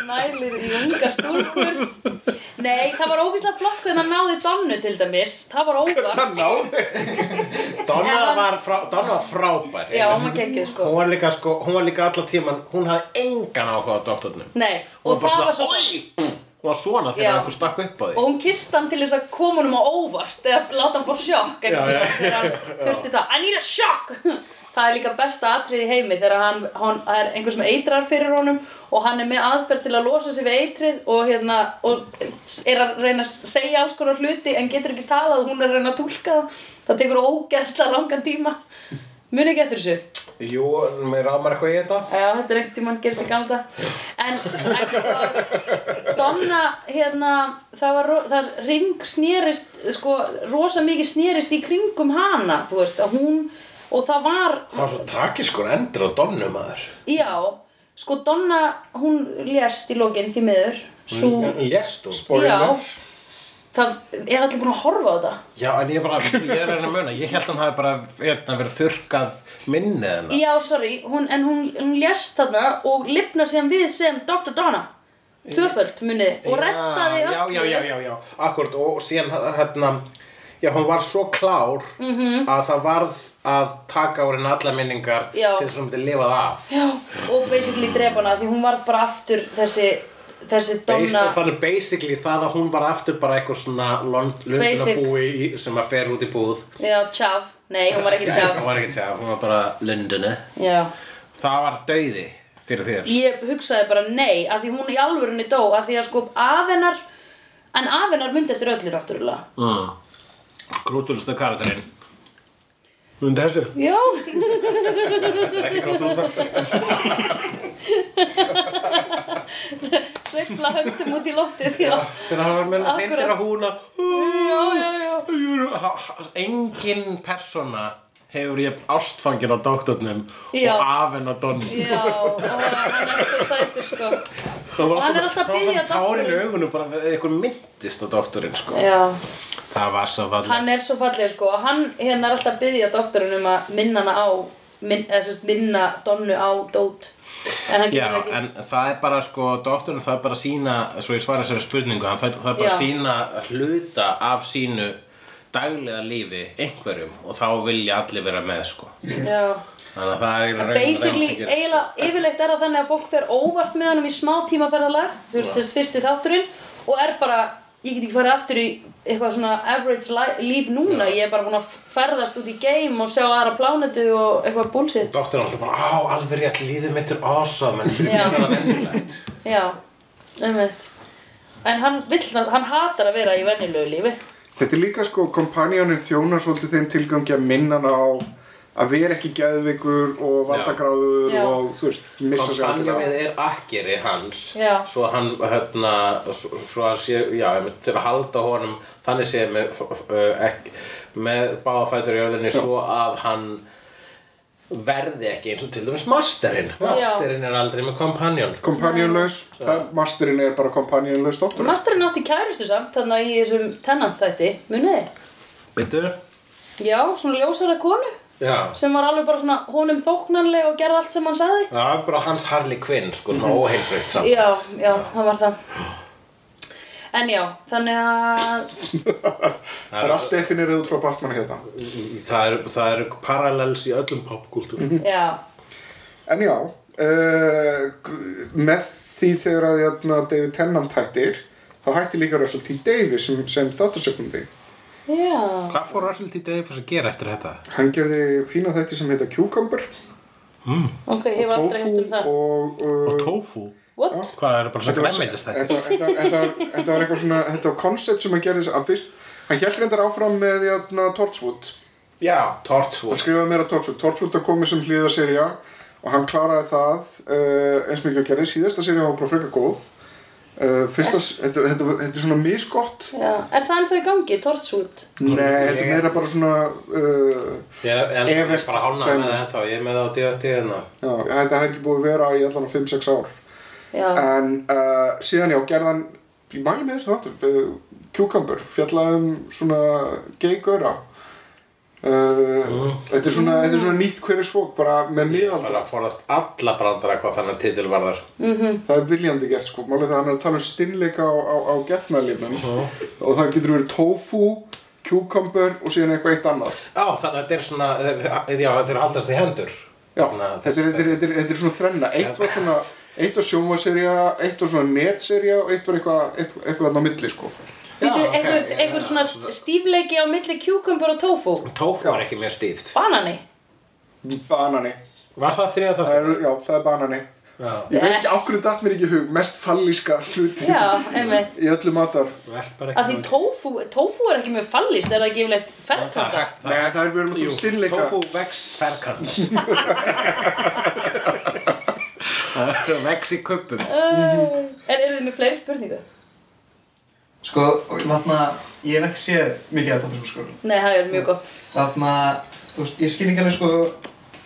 S4: Nælir í unga stúlkur Nei, það var ógæslega flott hvernig hann náði Donnu til dæmis Það var óvart
S2: Donna
S4: En hann-
S2: var, frá, Donna var frábær
S4: Já, hún var geggjuð, sko.
S2: Hún var líka, sko, hún var líka allan tíman hún hafði engan áhuga á doktornum
S4: Nei, og það var svo
S2: Oi! Hún var svona
S4: Já.
S2: þegar einhver stakk upp á
S4: Og
S2: því
S4: hún kist hann til þess að koma honum á óvart eða láta hann fór sjokk
S2: Já, já,
S4: þegar hann þurfti það, I need a shock Það er líka besta atrið í heimi þegar hann, hann það er einhver sem eitrar fyrir honum og hann er með aðferð til að losa sig við eitrið og, hérna, og er að reyna að segja alls konar hluti en getur ekki talað, hún er að reyna að túlka það það tekur ógeðsla langan tíma Muni ekki eftir þessu?
S2: Jú, mér rámar eitthvað í þetta
S4: Já, þetta er ekkert tíma hann gerist í gamla dag. En, en sko, Donna, hérna, það var, ro- það ring snerist, sko, rosa mikið snerist í kringum hana, þú veist, að hún, og það var,
S2: Hún var svo tragískur endur á Donnu maður
S4: já, sko, Donna, hún lést í lokinn því miður, svo,
S2: Hún lést hún
S4: já, það er allir búin að horfa á þetta.
S2: Já, en ég bara, ég er að reyna að muna Ég held hún hafi bara hérna, verið þurrkað minnið hennar
S4: Já, sorry, hún, en hún, hún lést þarna og lifnar sem við sem Dr. Donna, tvöföld munið, og rettaði
S2: Já,
S4: öllu.
S2: Já, já, já, já, akkurat og síðan hérna Já, hún var svo klár
S4: Mhm.
S2: -hmm. að það varð að taka úr henni alla minningar
S4: Já.
S2: til þess að hún myndi lifað af
S4: Já, og basically drepa hana því hún varð bara aftur þessi, þessi
S2: Donna...
S4: donna
S2: Þannig basically það að hún var aftur bara eitthvað svona lundunabúi sem að fer út í búð
S4: Já, tjaf, nei, hún var ekki tjaf
S2: Hún var ekki tjá, hún var bara lundinu
S4: Já,
S2: Það var dauði fyrir þér
S4: ég hugsaði bara nei að því hún í alvörunni dó að því að sko afenar en afenar myndi eftir öllu náttúrulega
S2: mm. Grútulustu karakterinn Myndi þessu?
S4: Já,
S2: Þetta er ekki grútulustu
S4: sveifla högtum út í loftið Já,
S2: Þegar hann var með
S4: Akkurat.
S2: reyndir að húna
S4: já, já, já
S2: Engin persóna hefur ég ástfangin á doktornum
S4: Já.
S2: og af hennar donni
S4: Já, og hann er svo sætur sko
S2: og
S4: hann er alltaf að biðja
S2: doktorinn Tárin í
S4: doktorinn.
S2: augunum bara við einhvern myndist á doktorinn sko
S4: Já,
S2: Það var svo vallega
S4: hann er svo fallið sko og hann hérna er alltaf að byggja doktorinn um að minna hana á minn, eða sérst minna donnu á dót en hann getur
S2: Já,
S4: ekki
S2: en það er bara sko, doktorinn það er bara að sína, svo ég svara þessari spurningu, hann, það, það er bara
S4: Já.
S2: að sína hluta af sínu daglega lífi einhverjum og þá vilja allir vera með sko.
S4: Já,
S2: Þannig að það er eiginlega raunin að
S4: basically,
S2: það sem gerist.
S4: eiginlega, yfirleitt er það þannig að fólk fer óvart með hann um í smá tímaferðalag þú veist, þessi fyrsti þátturinn og er bara, ég get ekki farið aftur í eitthvað svona average li- líf núna ég er bara búin að ferðast út í game og sjá aðra plánetu og eitthvað bullshit
S2: Doktorinn alltaf bara, á, alveg rétt, lífið mitt er awesome, en
S4: Já.
S2: það er vennilegt.
S4: Já, einmitt En hann vill, það- hann hatar að vera í venjulegu lífi
S3: Þetta er líka sko, kompanjónin þjónar svolítið þeim tilgangi að minna hana á að vera ekki gæðveikur og valdagráður
S4: Já.
S3: og þú veist, missa sig
S2: Kompanjónið
S3: algjörlega.
S2: er akkeri hans,
S4: Já.
S2: svo hann, hérna, svo svo að sé, já, einmitt, til að halda honum, þannig sé með, f- f- uh, ekki, með báðafætur í öðrunni, svo að hann verði ekki eins og til dæmis masterinn. Masterinn er aldrei með kompanjón.
S3: Kompanjónlaus, það- masterinn er bara kompanjónlaus doktor.
S4: Masterinn átti kærustu samt, þannig að í þessum tennant þætti, muniði
S2: Veitu?
S4: Já, svona ljósara konu
S2: Já.
S4: sem var alveg bara svona honum þóknanleg og gerði allt sem hann sagði
S2: Það er bara hans Harley Quinn, sko, svona óheilbreytt samt.
S4: já, já, það var það en já, þannig að
S3: Það er allt definirið út frá Batman hérna.
S2: Mhm. Það eru það er parallels í öllum popkúltúr.
S4: já,
S3: En já, uh, með því þegar að jötna, David Tennant hættir þá hættir líka Russell T. Davies sem, sem þáttarsekundi
S4: Já.
S2: Hvað fór Russell T. Davies að gera eftir þetta?
S3: hann gerði fína þætti sem heita Cucumber
S4: Ok, ég hef aldrei hefst um það.
S3: og, uh,
S2: Og tofu?
S4: What?
S2: Hvað er bara svo
S3: Þetta var-
S2: græmmeitist þetta?
S3: þetta- þetta- þetta- þetta var eitthvað svona þetta var koncept sem hann gerði s- að fyrst hann held reyndar áfram með jötna, Torchwood
S2: Já,
S3: hann
S2: Torchwood
S3: skrifaði meira Torchwood Torchwood er komið sem hlýðaserja og hann kláraði það uh, eins mikið að gerði síðasta serja var bara frekar góð uh, fyrsta, s- þetta, þetta, var- þetta er svona misgott
S4: Já. Er það ennþá í gangi, Torchwood?
S3: nei, þetta er meira bara svona uh,
S2: Ég en ég er
S3: Evert
S2: bara hálnað með
S3: dæmi.
S2: það ennþá, ég er með það á DFT hérna
S3: já, þetta hefði ekki búið að vera í allan á 5-6 ár
S4: Já.
S3: en uh, síðan já, gerðan ég mæli með þessu þáttur uh, Cucumber, fjallaðum svona gay-göra uh, þetta, er svona, þetta er svona nýtt hverju svók bara með miðaldra
S2: Bara að forðast alla brandara hvað þannig titil varðar
S3: það er viljandi gert sko málið það að hann er að tala um stinnleika á, á, á getnalifnum og það getur verið tofu cucumber og síðan eitthvað eitt annað
S2: Já, þannig að þetta er svona, eh, já þetta er að haldast í hendur
S3: já,
S2: Þannig að
S3: þetta, er, þetta, er, þetta, er, þetta er svona þrenna eitt var svona, eitt var sjómaserja eitt var svona netserja og eitt var eitthvað eitthvað, eitthvað þarna á milli sko
S4: Býtu,
S2: ok,
S4: einhver,
S2: já,
S4: einhver svona stífleiki á milli kjúkumbar og tófu?
S2: Tofu var ekki mjög stíft
S4: Banani?
S3: banani,
S2: Var það þriða
S3: það er,
S2: þáttur?
S3: já, það er banani
S2: Já,
S3: ég veit
S4: Yes.
S3: ekki ákveðu datt mér ekki í hug mest fallíska hluti
S4: Já, einmitt.
S3: í öllu matar
S2: velt bara
S4: Að því
S2: ekki
S4: tófu, tófu er ekki mjög fallist, er það ekki yfirleitt ferkanta?
S3: Nei, það er verið með stinnleika
S2: Tofu vex færkant Vex í kuppum
S4: En eru þið með fleiri spurningu?
S6: Sko, og þarna, ég hef ekki séð mikið af þetta sko.
S4: Nei, það er
S3: Mm.
S4: mjög gott.
S6: Þarna, þú veist, ég skil ekki alveg sko,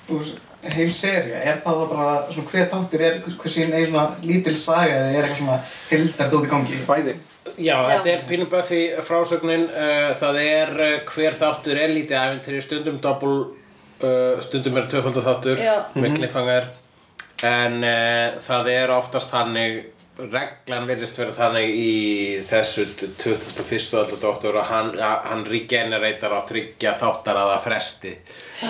S6: þú veist, heil serja, er það þá bara svona hver þáttur er, hver sín er svona lítil saga eða er eitthvað svona heildar dót í gangi?
S3: bæði
S2: Já, þetta er Pínu Buffy frásögnin uh, það er uh, hver þáttur er lítið æfintýri, stundum doppul uh, stundum er tvöfaldar þáttur
S4: Já.
S2: með kliffangar en uh, það er oftast þannig reglan virðist verið þannig í þessu 2001. aldar doktor og hann, hann regenerator á þryggja þáttar aða fresti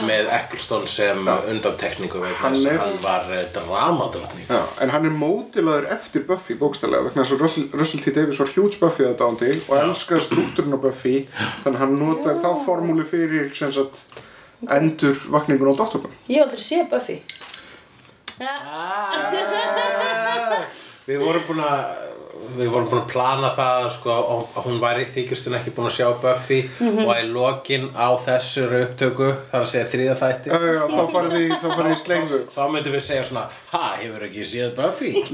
S2: með Eccleston sem undantekningu vegna
S3: Hann
S2: þess
S3: er-
S2: að hann var uh, dramadrotning
S3: Já, en hann er mótilaður eftir Buffy bókstælega vegna þess að Russell, Russell T. Davies var huge Buffy þetta án til og elskaði struktúrin á Buffy þannig að hann notaði þá formúli fyrir sem sagt endur vakningun á dottokum
S4: Ég hef aldrei séð Buffy. Ja,
S3: Ah.
S2: Ah, Við vorum búin að við vorum búin að plana það sko, að að hún væri þykjustun ekki búin að sjá Buffy og að í lokin á þessur upptöku þar að segja þriða þætti
S3: Já, já, þá farið þið þá farið þið í slengu
S2: þá myndum við segja svona ha, hefur ekki séð Buffy og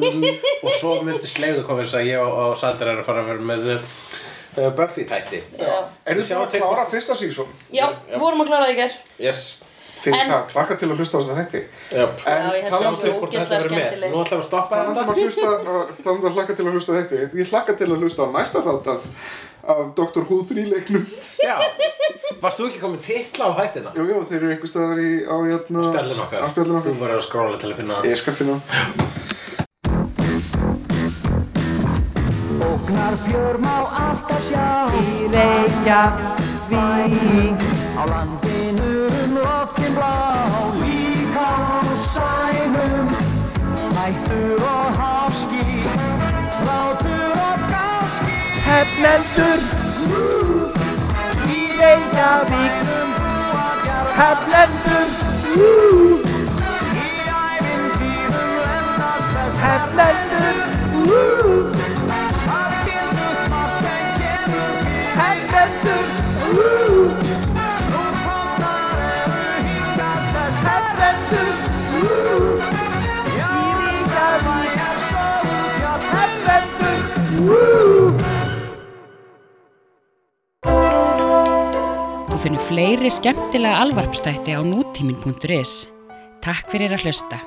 S2: svo myndi slegðu komið þess að ég og, og Sandra eru að fara að vera með uh, Buffy þætti
S3: Er
S4: já.
S2: Við
S3: þið búin
S2: sjáum
S3: að
S2: til-
S3: klára fyrsta sísón?
S4: Já, við vorum að klára það í gerð.
S2: yes,
S3: Fyrir
S4: En-
S3: það, klakka til að hlusta á þess að þetta
S2: jöp
S4: Já, ég
S3: En um
S4: held
S3: talandi
S4: að- Svo ógeðslega skemmtileg.
S2: nú ætlum við að stoppa
S3: Það
S2: þetta
S3: er að hlusta, það er að hlakka til að hlusta á þetta Ég hlakka til að hlusta á næsta þátt af, af Dr. Who 3 leiknum
S2: Já, varst þú ekki komið titla á hættina?
S3: Jú, jú, þeir eru einhver staðar í, á hérna
S2: Spjallin okkar.
S3: Á spjallin
S2: Þú
S3: okkar
S2: verður að skróla til að finna það
S3: Ég skal finna það
S7: Óknar fjör má alltaf sjá Í Reykjavík Á landinu um loftin blá Líka á sænum Hættur og háski Hlátur og gáski Hefnendur Í Reykjavík Hefnendur Í ævintýrum lendar þess Hefnendur Hefnendur Woo!
S1: Þú finnur fleiri skemmtilega alvarpstætti á nútímin.is. Takk fyrir að hlusta.